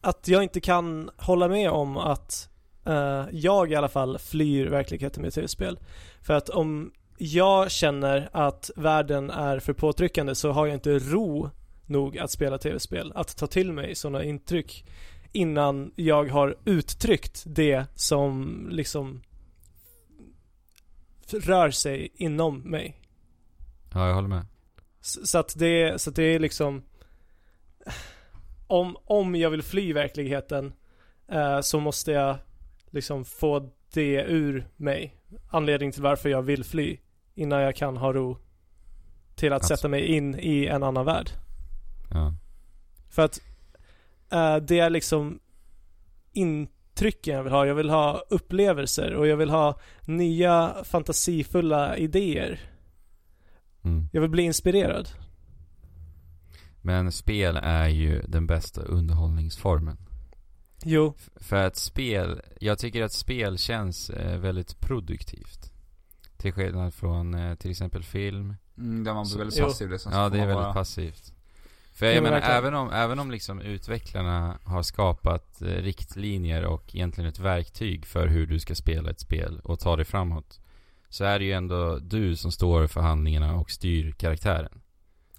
[SPEAKER 3] att jag inte kan hålla med om att eh, jag i alla fall flyr verkligheten med tv-spel. För att om jag känner att världen är för påtryckande så har jag inte ro nog att spela tv-spel. Att ta till mig sådana intryck innan jag har uttryckt det som liksom rör sig inom mig.
[SPEAKER 2] Ja, jag håller med.
[SPEAKER 3] S- Så att det, så att det är liksom om, om jag vill fly verkligheten eh, så måste jag liksom få det ur mig. Anledning till varför jag vill fly innan jag kan ha ro till att
[SPEAKER 2] Alltså.
[SPEAKER 3] sätta mig in i en annan värld.
[SPEAKER 2] Ja.
[SPEAKER 3] För att eh, det är liksom intrycken jag vill ha. Jag vill ha upplevelser och jag vill ha nya fantasifulla idéer.
[SPEAKER 2] Mm.
[SPEAKER 3] Jag vill bli inspirerad.
[SPEAKER 2] Men spel är ju den bästa underhållningsformen.
[SPEAKER 3] Jo,
[SPEAKER 2] F- För att spel, jag tycker att spel känns eh, väldigt produktivt. Till skillnad från eh, till exempel film,
[SPEAKER 1] Mm, där man blir
[SPEAKER 2] Så-
[SPEAKER 1] väldigt
[SPEAKER 3] Jo.
[SPEAKER 1] passiv. Liksom,
[SPEAKER 2] Ja,
[SPEAKER 1] så får
[SPEAKER 2] det är
[SPEAKER 1] man
[SPEAKER 2] väldigt
[SPEAKER 1] bara-
[SPEAKER 2] passivt. För jag
[SPEAKER 3] Jo,
[SPEAKER 2] menar,
[SPEAKER 3] verkligen.
[SPEAKER 2] även om, även om liksom utvecklarna har skapat eh, riktlinjer och egentligen ett verktyg för hur du ska spela ett spel och ta dig framåt. Så är det ju ändå du som står för handlingarna och styr karaktären.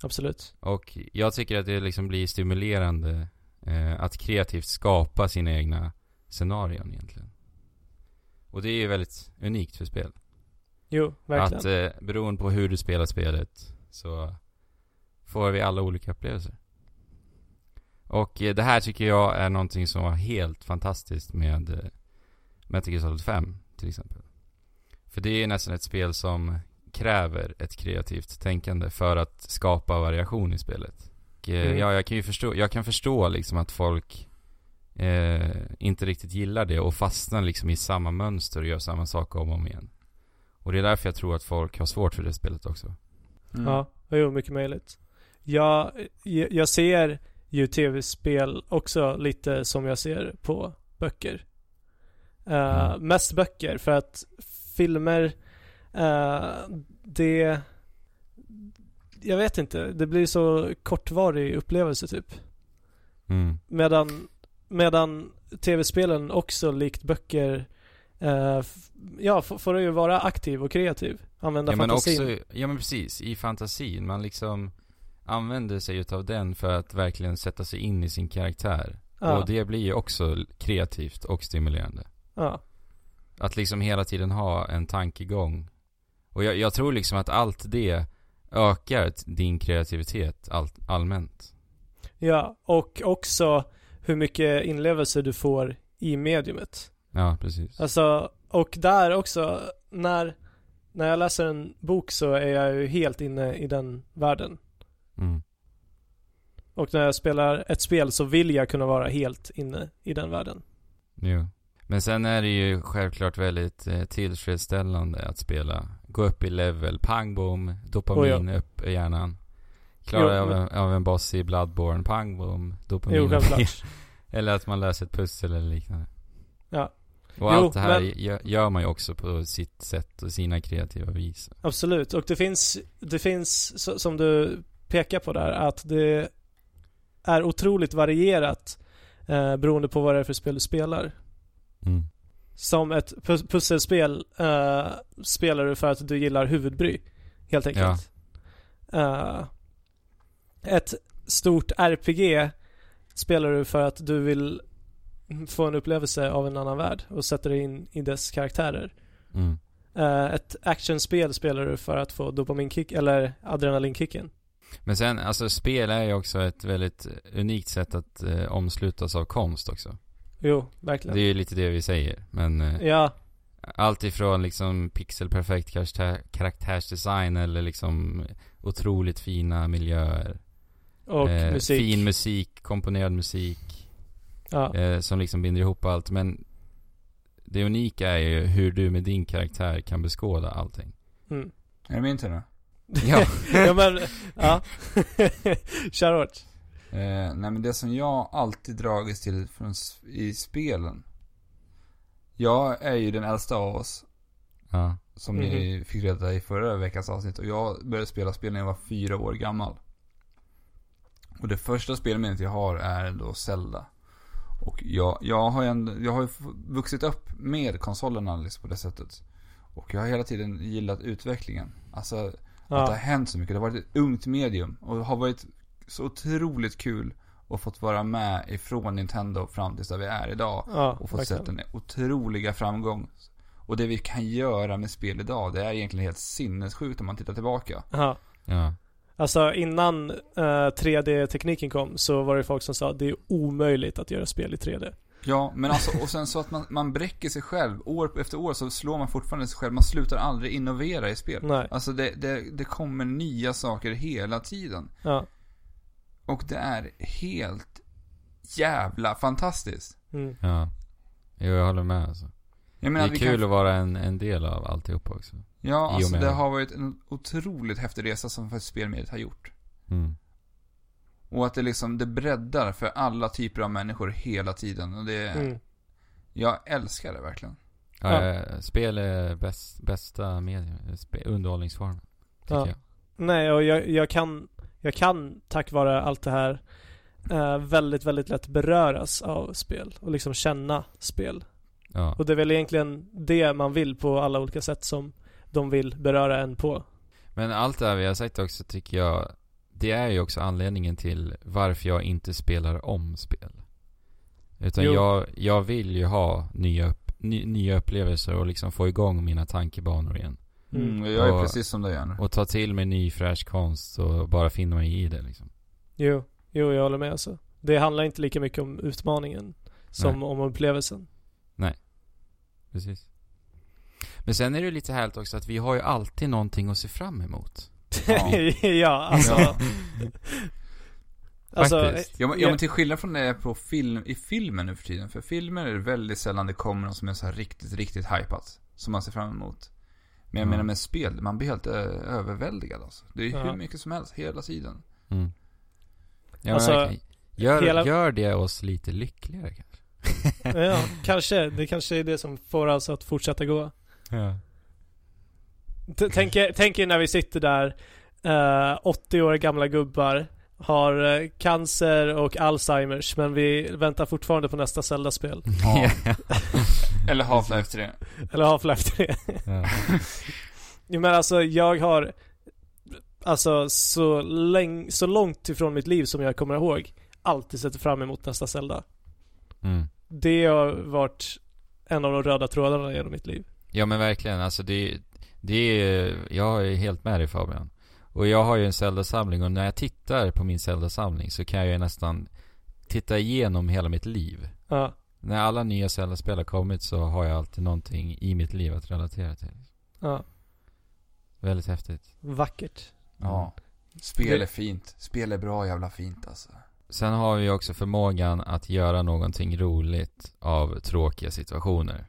[SPEAKER 3] absolut.
[SPEAKER 2] Och jag tycker att det liksom blir stimulerande eh, att kreativt skapa sina egna scenarion egentligen. Och det är ju väldigt unikt för spel.
[SPEAKER 3] Jo, verkligen.
[SPEAKER 2] Att eh, beroende på hur du spelar spelet så får vi alla olika upplevelser. Och eh, det här tycker jag är någonting som var helt fantastiskt med eh, Metal Gear Solid 5 till exempel. För det är ju nästan ett spel som kräver ett kreativt tänkande för att skapa variation i spelet. Och, eh,
[SPEAKER 3] Mm.
[SPEAKER 2] ja, jag kan ju förstå, jag kan förstå liksom att folk eh, inte riktigt gillar det och fastnar liksom i samma mönster och gör samma sak om och om igen. Och det är därför jag tror att folk har svårt för det spelet också.
[SPEAKER 1] Mm.
[SPEAKER 3] Ja, jo, mycket möjligt. Jag, jag jag ser ju tv-spel också lite som jag ser på böcker. Eh,
[SPEAKER 2] Mm.
[SPEAKER 3] Mest böcker för att filmer, eh, det... Jag vet inte, det blir så kortvarig upplevelse typ. Medan, medan tv-spelen också likt böcker eh, f- ja, f- får du ju vara aktiv och kreativ. Använda
[SPEAKER 2] Ja men
[SPEAKER 3] fantasin.
[SPEAKER 2] också, ja men precis, i fantasin. Man liksom använder sig utav den för att verkligen sätta sig in i sin karaktär.
[SPEAKER 3] ja,
[SPEAKER 2] Och det blir ju också kreativt och stimulerande.
[SPEAKER 3] ja.
[SPEAKER 2] Att liksom hela tiden ha en tankegång. Och jag, jag tror liksom att allt det ökar t- din kreativitet all, allmänt.
[SPEAKER 3] ja, och också hur mycket inlevelse du får i mediumet.
[SPEAKER 2] Ja, precis.
[SPEAKER 3] Alltså, och där också, när, när jag läser en bok så är jag ju helt inne i den världen.
[SPEAKER 2] Mm.
[SPEAKER 3] Och när jag spelar ett spel så vill jag kunna vara helt inne i den världen.
[SPEAKER 2] Jo. Men sen är det ju självklart väldigt eh, tillfredsställande att spela. Gå upp i level, pang bom, dopamin
[SPEAKER 3] Oh,
[SPEAKER 2] upp i hjärnan. Klara
[SPEAKER 3] Jo,
[SPEAKER 2] av,
[SPEAKER 3] men-
[SPEAKER 2] en, av en boss i Bloodborne, pang bom, dopamin
[SPEAKER 3] Jo,
[SPEAKER 2] upp i-
[SPEAKER 3] självklart.
[SPEAKER 2] Eller att man löser ett pussel eller liknande.
[SPEAKER 3] Ja.
[SPEAKER 2] Och
[SPEAKER 3] Jo,
[SPEAKER 2] allt det här
[SPEAKER 3] men-
[SPEAKER 2] gö- gör man ju också på sitt sätt och sina kreativa vis.
[SPEAKER 3] Absolut, och det finns, det finns så- som du pekar på där, att det är otroligt varierat eh, beroende på vad det är för spel du spelar.
[SPEAKER 2] Mm.
[SPEAKER 3] Som ett pus- pusselspel eh, spelar du för att du gillar huvudbry, helt enkelt. Eh, ett stort RPG spelar du för att du vill få en upplevelse av en annan värld och sätter dig in i dess karaktärer.
[SPEAKER 2] Mm.
[SPEAKER 3] Eh, ett actionspel spelar du för att få dopaminkick eller adrenalinkicken.
[SPEAKER 2] Men sen, alltså spel är ju också ett väldigt unikt sätt att eh, omslutas av konst också.
[SPEAKER 3] Jo,
[SPEAKER 2] Det
[SPEAKER 3] verkligen.
[SPEAKER 2] är ju lite det vi säger, men eh,
[SPEAKER 3] Ja,
[SPEAKER 2] Allt ifrån liksom pixelperfekt karaktär, karaktärsdesign eller liksom otroligt fina miljöer.
[SPEAKER 3] och
[SPEAKER 2] Eh,
[SPEAKER 3] musik.
[SPEAKER 2] Fin musik, komponerad musik.
[SPEAKER 3] ja.
[SPEAKER 2] Eh, som liksom binder ihop allt. Men det unika är ju hur du med din karaktär kan beskåda allting.
[SPEAKER 3] Mm.
[SPEAKER 1] Är det min tur nu?
[SPEAKER 2] Ja.
[SPEAKER 3] ja, men,
[SPEAKER 2] *laughs*
[SPEAKER 3] ja. *laughs* Kör hårt.
[SPEAKER 1] Eh, nej men det som jag alltid dragits till från, s- i spelen. Jag är ju den äldsta av oss.
[SPEAKER 2] ja.
[SPEAKER 1] Som ni fick reda i förra veckans avsnitt. Och jag började spela spel när jag var fyra år gammal. Och det första spelminnet jag har är då Zelda. Och jag, jag har ju ändå, jag har ju f- vuxit upp med konsolerna liksom på det sättet. Och jag har hela tiden gillat utvecklingen. Alltså att det har
[SPEAKER 3] Ja.
[SPEAKER 1] hänt så mycket. Det har varit ett ungt medium. Och det har varit så otroligt kul och fått vara med ifrån Nintendo fram tills där vi är idag.
[SPEAKER 3] Ja,
[SPEAKER 1] Och fått
[SPEAKER 3] verkligen.
[SPEAKER 1] sett den otroliga framgång. Och det vi kan göra med spel idag, det är egentligen helt sinnessjukt om man tittar tillbaka.
[SPEAKER 3] Ja.
[SPEAKER 2] Ja.
[SPEAKER 3] Alltså innan eh, 3D-tekniken kom så var det folk som sa att det är omöjligt att göra spel i 3D.
[SPEAKER 1] Ja, men alltså, och sen så att man, man bräcker sig själv. År efter år så slår man fortfarande sig själv. Man slutar aldrig innovera i spel.
[SPEAKER 3] Nej.
[SPEAKER 1] Alltså det, det, det kommer nya saker hela tiden.
[SPEAKER 3] Ja.
[SPEAKER 1] Och det är helt jävla fantastiskt.
[SPEAKER 3] Mm.
[SPEAKER 2] ja. Jo, jag håller med alltså.
[SPEAKER 1] Jag
[SPEAKER 2] Det
[SPEAKER 1] menar,
[SPEAKER 2] är
[SPEAKER 1] vi kan
[SPEAKER 2] kul att vara en, en del av alltihopa också.
[SPEAKER 1] Ja,
[SPEAKER 2] i och
[SPEAKER 1] alltså
[SPEAKER 2] med
[SPEAKER 1] det
[SPEAKER 2] det.
[SPEAKER 1] har varit en otroligt häftig resa som faktiskt spelmediet har gjort.
[SPEAKER 2] Mm.
[SPEAKER 1] Och att det liksom, det breddar för alla typer av människor hela tiden. Och det,
[SPEAKER 3] Mm.
[SPEAKER 1] jag älskar det verkligen.
[SPEAKER 2] Ja,
[SPEAKER 3] Ja.
[SPEAKER 2] eh, Spel är bäst, bästa medium, spe- underhållningsformen. Tycker
[SPEAKER 3] Ja.
[SPEAKER 2] jag.
[SPEAKER 3] Nej, och jag, jag, kan, jag kan tack vare allt det här eh, väldigt, väldigt lätt beröras av spel och liksom känna spel.
[SPEAKER 2] Ja.
[SPEAKER 3] Och det är väl egentligen det man vill på alla olika sätt som de vill beröra en på.
[SPEAKER 2] Men allt det här vi har sagt också tycker jag Det är ju också anledningen till varför jag inte spelar om spel Utan
[SPEAKER 3] Jo.
[SPEAKER 2] jag, jag vill ju ha nya, upp, ny, nya upplevelser och liksom få igång mina tankebanor igen
[SPEAKER 3] Mm.
[SPEAKER 1] Mm. Jag är
[SPEAKER 2] Och-
[SPEAKER 1] precis som du är nu.
[SPEAKER 2] Och ta till mig ny fräsch konst och bara finna mig i det liksom
[SPEAKER 3] Jo, jo jag håller med alltså. Det handlar inte lika mycket om utmaningen som om upplevelsen.
[SPEAKER 2] Precis Men sen är det ju lite härligt också att vi har ju alltid någonting att se fram emot
[SPEAKER 3] *laughs* ja, alltså.
[SPEAKER 1] Ja.
[SPEAKER 3] alltså
[SPEAKER 2] Faktiskt.
[SPEAKER 1] Ja men, ja, men till skillnad från det jag är på film, i filmen nu för tiden. För filmer är det väldigt sällan det kommer någon som är så här riktigt, riktigt hypat. Som man ser fram emot. Men jag
[SPEAKER 2] Mm.
[SPEAKER 1] menar med spel, man blir helt eh, överväldigad alltså. Det är
[SPEAKER 3] Ja.
[SPEAKER 1] hur mycket som helst, hela tiden.
[SPEAKER 2] mm. ja,
[SPEAKER 3] Alltså,
[SPEAKER 2] alltså, gör,
[SPEAKER 3] hela-
[SPEAKER 2] gör det oss lite lyckligare kanske?
[SPEAKER 3] eh, ja, kanske. Det kanske är det som får oss att fortsätta gå.
[SPEAKER 2] *laughs* Ja.
[SPEAKER 3] T- Tänk er, tänk er när vi sitter där, eh, 80 år gamla gubbar har eh, cancer och Alzheimers men vi väntar fortfarande på nästa Zelda-spel.
[SPEAKER 1] Ja. Eller Half-Life 3.
[SPEAKER 3] Eller Half-Life 3.
[SPEAKER 2] Ja.
[SPEAKER 3] *laughs* Jo, men alltså jag har Alltså så, läng- så långt ifrån mitt liv som jag kommer ihåg Alltid sett fram emot nästa Zelda
[SPEAKER 2] Mm.
[SPEAKER 3] Det har varit en av de röda trådarna genom mitt liv
[SPEAKER 2] Ja men verkligen, alltså det, det är, jag är helt med dig Fabian. Och jag har ju en Zelda-samling och när jag tittar på min Zelda-samling så kan jag ju nästan titta igenom hela mitt liv.
[SPEAKER 3] Ja,
[SPEAKER 2] När alla nya Zelda-spel har kommit så har jag alltid någonting i mitt liv att relatera till.
[SPEAKER 3] ja
[SPEAKER 2] Väldigt häftigt. Mm.
[SPEAKER 3] Vackert
[SPEAKER 1] Ja. Spel är fint. Spel är bra jävla fint alltså.
[SPEAKER 2] Sen har vi också förmågan att göra någonting roligt av tråkiga situationer.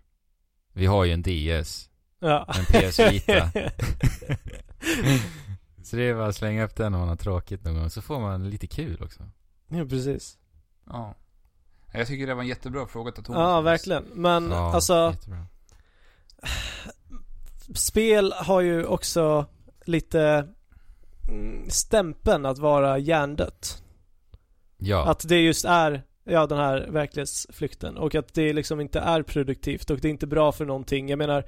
[SPEAKER 2] Vi har ju en DS,
[SPEAKER 3] Ja
[SPEAKER 2] en PS Vita. *laughs* så det är bara att slänga upp den om man har tråkigt någon gång, så får man lite kul också.
[SPEAKER 3] Ja precis
[SPEAKER 1] Ja. Jag tycker det var en jättebra fråga till Thomas.
[SPEAKER 3] Ja verkligen men
[SPEAKER 2] Ja,
[SPEAKER 3] alltså
[SPEAKER 2] jättebra.
[SPEAKER 3] Spel har ju också lite mm, stämpeln att vara hjärndött
[SPEAKER 2] Ja,
[SPEAKER 3] Att det just är, ja den här verklighetsflykten och att det liksom inte är produktivt och det är inte bra för någonting. Jag menar,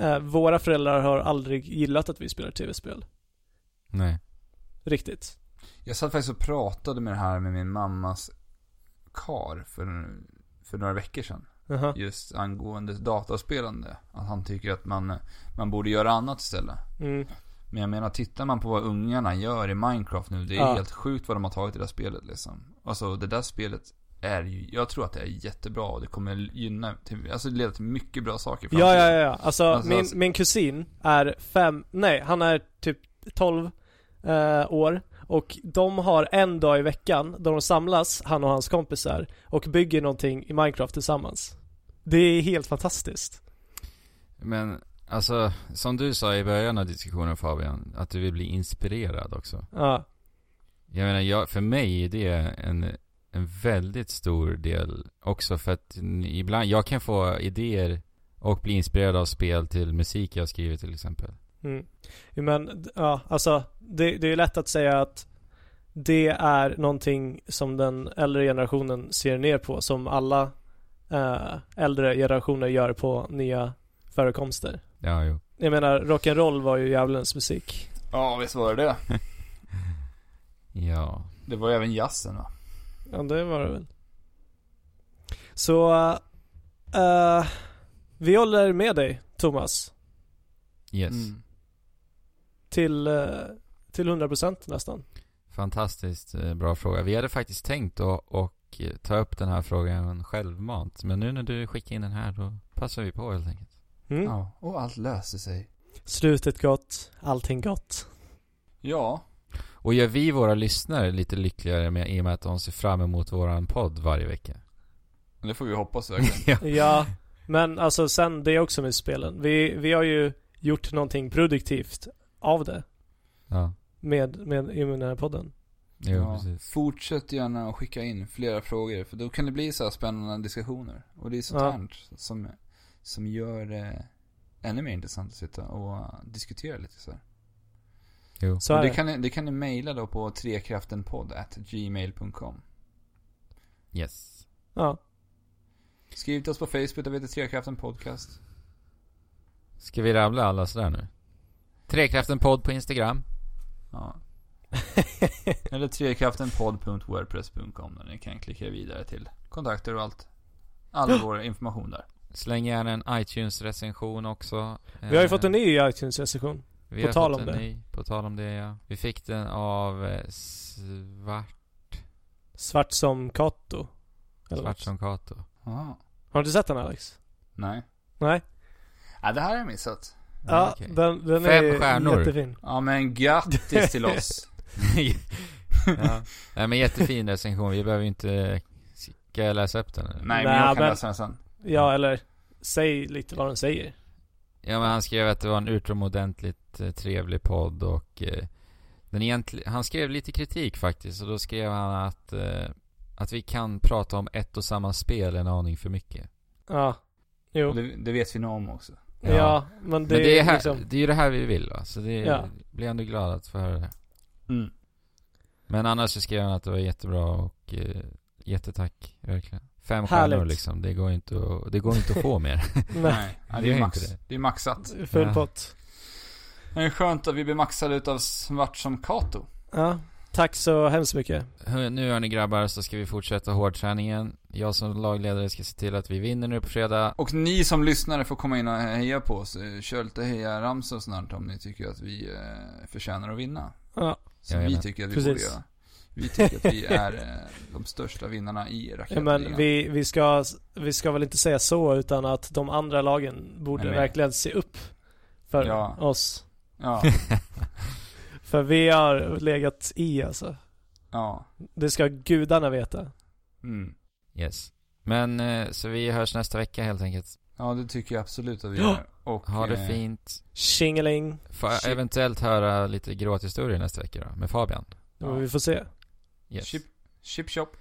[SPEAKER 3] eh, våra föräldrar har aldrig gillat att vi spelar tv-spel.
[SPEAKER 2] nej.
[SPEAKER 3] Riktigt.
[SPEAKER 1] Jag satt faktiskt och pratade med det här med min mammas kar för, för några veckor sedan.
[SPEAKER 3] Jaha.
[SPEAKER 1] Just angående dataspelande. Att han tycker att man, man borde göra annat istället.
[SPEAKER 3] Mm.
[SPEAKER 1] Men jag menar, tittar man på vad ungarna gör i Minecraft nu. Det är
[SPEAKER 3] Ja.
[SPEAKER 1] helt sjukt vad de har tagit i det där spelet liksom. Alltså det där spelet är ju, jag tror att det är jättebra och det kommer gynna, till, alltså det leder till mycket bra saker. i
[SPEAKER 3] Ja, ja,
[SPEAKER 1] framtiden.
[SPEAKER 3] ja, ja. Alltså,
[SPEAKER 1] Alltså,
[SPEAKER 3] min,
[SPEAKER 1] alltså-
[SPEAKER 3] min kusin är fem, nej, han är typ 12 eh, år. Och de har en dag i veckan då de samlas, han och hans kompisar, och bygger någonting i Minecraft tillsammans. Det är helt fantastiskt.
[SPEAKER 2] Men alltså, som du sa i början av diskussionen Fabian, att du vill bli inspirerad också.
[SPEAKER 3] Ja,
[SPEAKER 2] Jag menar, jag, för mig är det en, en väldigt stor del också för att n- ibland, jag kan få idéer och bli inspirerad av spel till musik jag skriver till exempel.
[SPEAKER 3] Mm. Jo, Men d- ja, alltså det, det är ju lätt att säga att det är någonting som den äldre generationen ser ner på som alla eh, äldre generationer gör på nya förekomster.
[SPEAKER 2] Ja, jo.
[SPEAKER 3] Jag menar rock'n'roll var ju djävulens musik.
[SPEAKER 1] Ja, visst var det det.
[SPEAKER 2] Ja.
[SPEAKER 1] Det var ju även jazzen va?
[SPEAKER 3] Ja det var det väl. Så eh, vi håller med dig Thomas
[SPEAKER 2] Yes.
[SPEAKER 1] Mm.
[SPEAKER 3] till, eh, till 100% nästan.
[SPEAKER 2] Fantastiskt eh, bra fråga. Vi hade faktiskt tänkt då och eh, ta upp den här frågan självmant. Men nu när du skickar in den här då passar vi på helt enkelt.
[SPEAKER 3] Mm.
[SPEAKER 1] Ja, och allt löser sig.
[SPEAKER 3] Slutet gott, allting gott.
[SPEAKER 1] Ja,
[SPEAKER 2] Och gör vi våra lyssnare lite lyckligare med, i och med att de ser fram emot våran podd varje vecka?
[SPEAKER 1] det får vi hoppas verkligen.
[SPEAKER 2] ja.
[SPEAKER 3] Ja, men alltså sen det är också med spelen. Vi, vi har ju gjort någonting produktivt av det
[SPEAKER 2] ja.
[SPEAKER 3] med, med, i den här podden.
[SPEAKER 2] Jo,
[SPEAKER 1] Ja,
[SPEAKER 2] precis.
[SPEAKER 1] Fortsätt gärna att skicka in flera frågor, för då kan det bli så här spännande diskussioner. Och det är sånt
[SPEAKER 3] Ja.
[SPEAKER 1] här som, som gör det ännu mer intressant att sitta och eh, diskutera lite så här.
[SPEAKER 2] Jo.
[SPEAKER 3] Så
[SPEAKER 1] och
[SPEAKER 3] är
[SPEAKER 1] det
[SPEAKER 3] det.
[SPEAKER 1] kan, ni- det kan ni mejla då på trekraftenpodd at gmail.com
[SPEAKER 2] Yes.
[SPEAKER 3] Ja,
[SPEAKER 1] Skriv till oss på Facebook, där vi heter Trekraften Podcast.
[SPEAKER 2] Ska vi rabbla alla sådär nu? Trekraften podd på Instagram.
[SPEAKER 1] Ja. Eller trekraftenpodd.wordpress.com där ni kan klicka vidare till kontakter och allt. All vår information där.
[SPEAKER 2] Släng gärna en iTunes-recension också. Eh,
[SPEAKER 3] vi har ju fått en
[SPEAKER 1] Eh.
[SPEAKER 3] ny iTunes-recension.
[SPEAKER 2] Vi
[SPEAKER 3] på
[SPEAKER 2] har
[SPEAKER 3] tal
[SPEAKER 2] fått
[SPEAKER 3] om
[SPEAKER 2] en
[SPEAKER 3] det.
[SPEAKER 2] Ny, på tal om det, ja. Vi fick den av eh, Svart,
[SPEAKER 3] Svart som Kato. Eller
[SPEAKER 2] Svart
[SPEAKER 3] något.
[SPEAKER 2] som Kato.
[SPEAKER 1] Ja.
[SPEAKER 3] Har du inte sett den Alex?
[SPEAKER 1] Nej.
[SPEAKER 3] Nej?
[SPEAKER 1] Ja, det här har jag missat.
[SPEAKER 3] Ja,
[SPEAKER 2] Mm, okej.
[SPEAKER 3] den, den
[SPEAKER 2] Fem
[SPEAKER 3] är
[SPEAKER 2] stjärnor.
[SPEAKER 3] jättefin.
[SPEAKER 1] Ja men grattis till oss.
[SPEAKER 2] ja. Nej men jättefin recension. Vi behöver ju inte... Ska jag läsa upp den eller?
[SPEAKER 1] Nej, men
[SPEAKER 3] Nej,
[SPEAKER 1] jag kan
[SPEAKER 3] men-
[SPEAKER 1] läsa den sen.
[SPEAKER 2] Mm.
[SPEAKER 3] Ja, eller säg lite vad den säger.
[SPEAKER 2] Ja men han skrev att det var en utomordentligt eh, trevlig podd och eh, den egentlig, han skrev lite kritik faktiskt och då skrev han att, eh, att vi kan prata om ett och samma spel en aning för mycket.
[SPEAKER 3] Ja. Jo.
[SPEAKER 1] Och Det, det vet vi nog om också.
[SPEAKER 3] Ja, men det,
[SPEAKER 2] men det är, här, *laughs*
[SPEAKER 3] liksom...
[SPEAKER 2] det är ju det här vi vill va? Så det
[SPEAKER 3] Ja.
[SPEAKER 2] blir jag ändå glad att få höra det. Men annars så skrev han att det var jättebra och eh, jättetack, verkligen. Fem
[SPEAKER 3] Härligt.
[SPEAKER 2] stjärnor liksom, det går inte att, det går inte att få mer.
[SPEAKER 3] Nej,
[SPEAKER 1] Nej, ja,
[SPEAKER 2] det
[SPEAKER 1] det
[SPEAKER 2] är
[SPEAKER 1] är
[SPEAKER 2] ju
[SPEAKER 1] max.
[SPEAKER 2] inte det.
[SPEAKER 1] Det är maxat.
[SPEAKER 3] *laughs* full
[SPEAKER 2] Ja.
[SPEAKER 3] pott.
[SPEAKER 1] Men det är skönt att vi blir maxade utav svart som Kato.
[SPEAKER 3] Ja. Tack så hemskt mycket.
[SPEAKER 2] Hör- Nu hör ni grabbar så ska vi fortsätta hårdträningen. Jag som lagledare ska se till att vi vinner nu på fredag.
[SPEAKER 1] Och ni som lyssnare får komma in och heja på oss. Eh, Kör lite hejaramsor och sånt där om ni tycker att vi eh, förtjänar att vinna.
[SPEAKER 3] Ja.
[SPEAKER 1] Som vi
[SPEAKER 2] Jajamän.
[SPEAKER 1] tycker att vi borde
[SPEAKER 3] Precis.
[SPEAKER 1] göra. Vi tycker att vi är eh, de största vinnarna i
[SPEAKER 3] Ja,
[SPEAKER 1] raketligan.
[SPEAKER 3] men vi, vi, ska, vi ska väl inte säga så utan att de andra lagen borde
[SPEAKER 1] Nej, men-
[SPEAKER 3] verkligen se upp för
[SPEAKER 1] Ja.
[SPEAKER 3] oss.
[SPEAKER 1] Ja,
[SPEAKER 3] För vi har legat i alltså.
[SPEAKER 1] ja.
[SPEAKER 3] Det ska gudarna veta.
[SPEAKER 1] Mm.
[SPEAKER 2] Yes. Men eh, så vi hörs nästa vecka helt enkelt.
[SPEAKER 1] Ja, det tycker jag absolut att vi
[SPEAKER 3] Ja.
[SPEAKER 1] gör. Och,
[SPEAKER 2] Ha det
[SPEAKER 1] eh,
[SPEAKER 2] fint.
[SPEAKER 3] Tjingeling.
[SPEAKER 2] Får jag
[SPEAKER 1] shit.
[SPEAKER 2] eventuellt höra lite gråthistorier nästa vecka då, med Fabian.
[SPEAKER 1] Ja.
[SPEAKER 3] Vi får se.
[SPEAKER 2] Yes.
[SPEAKER 1] Chip, chip shop.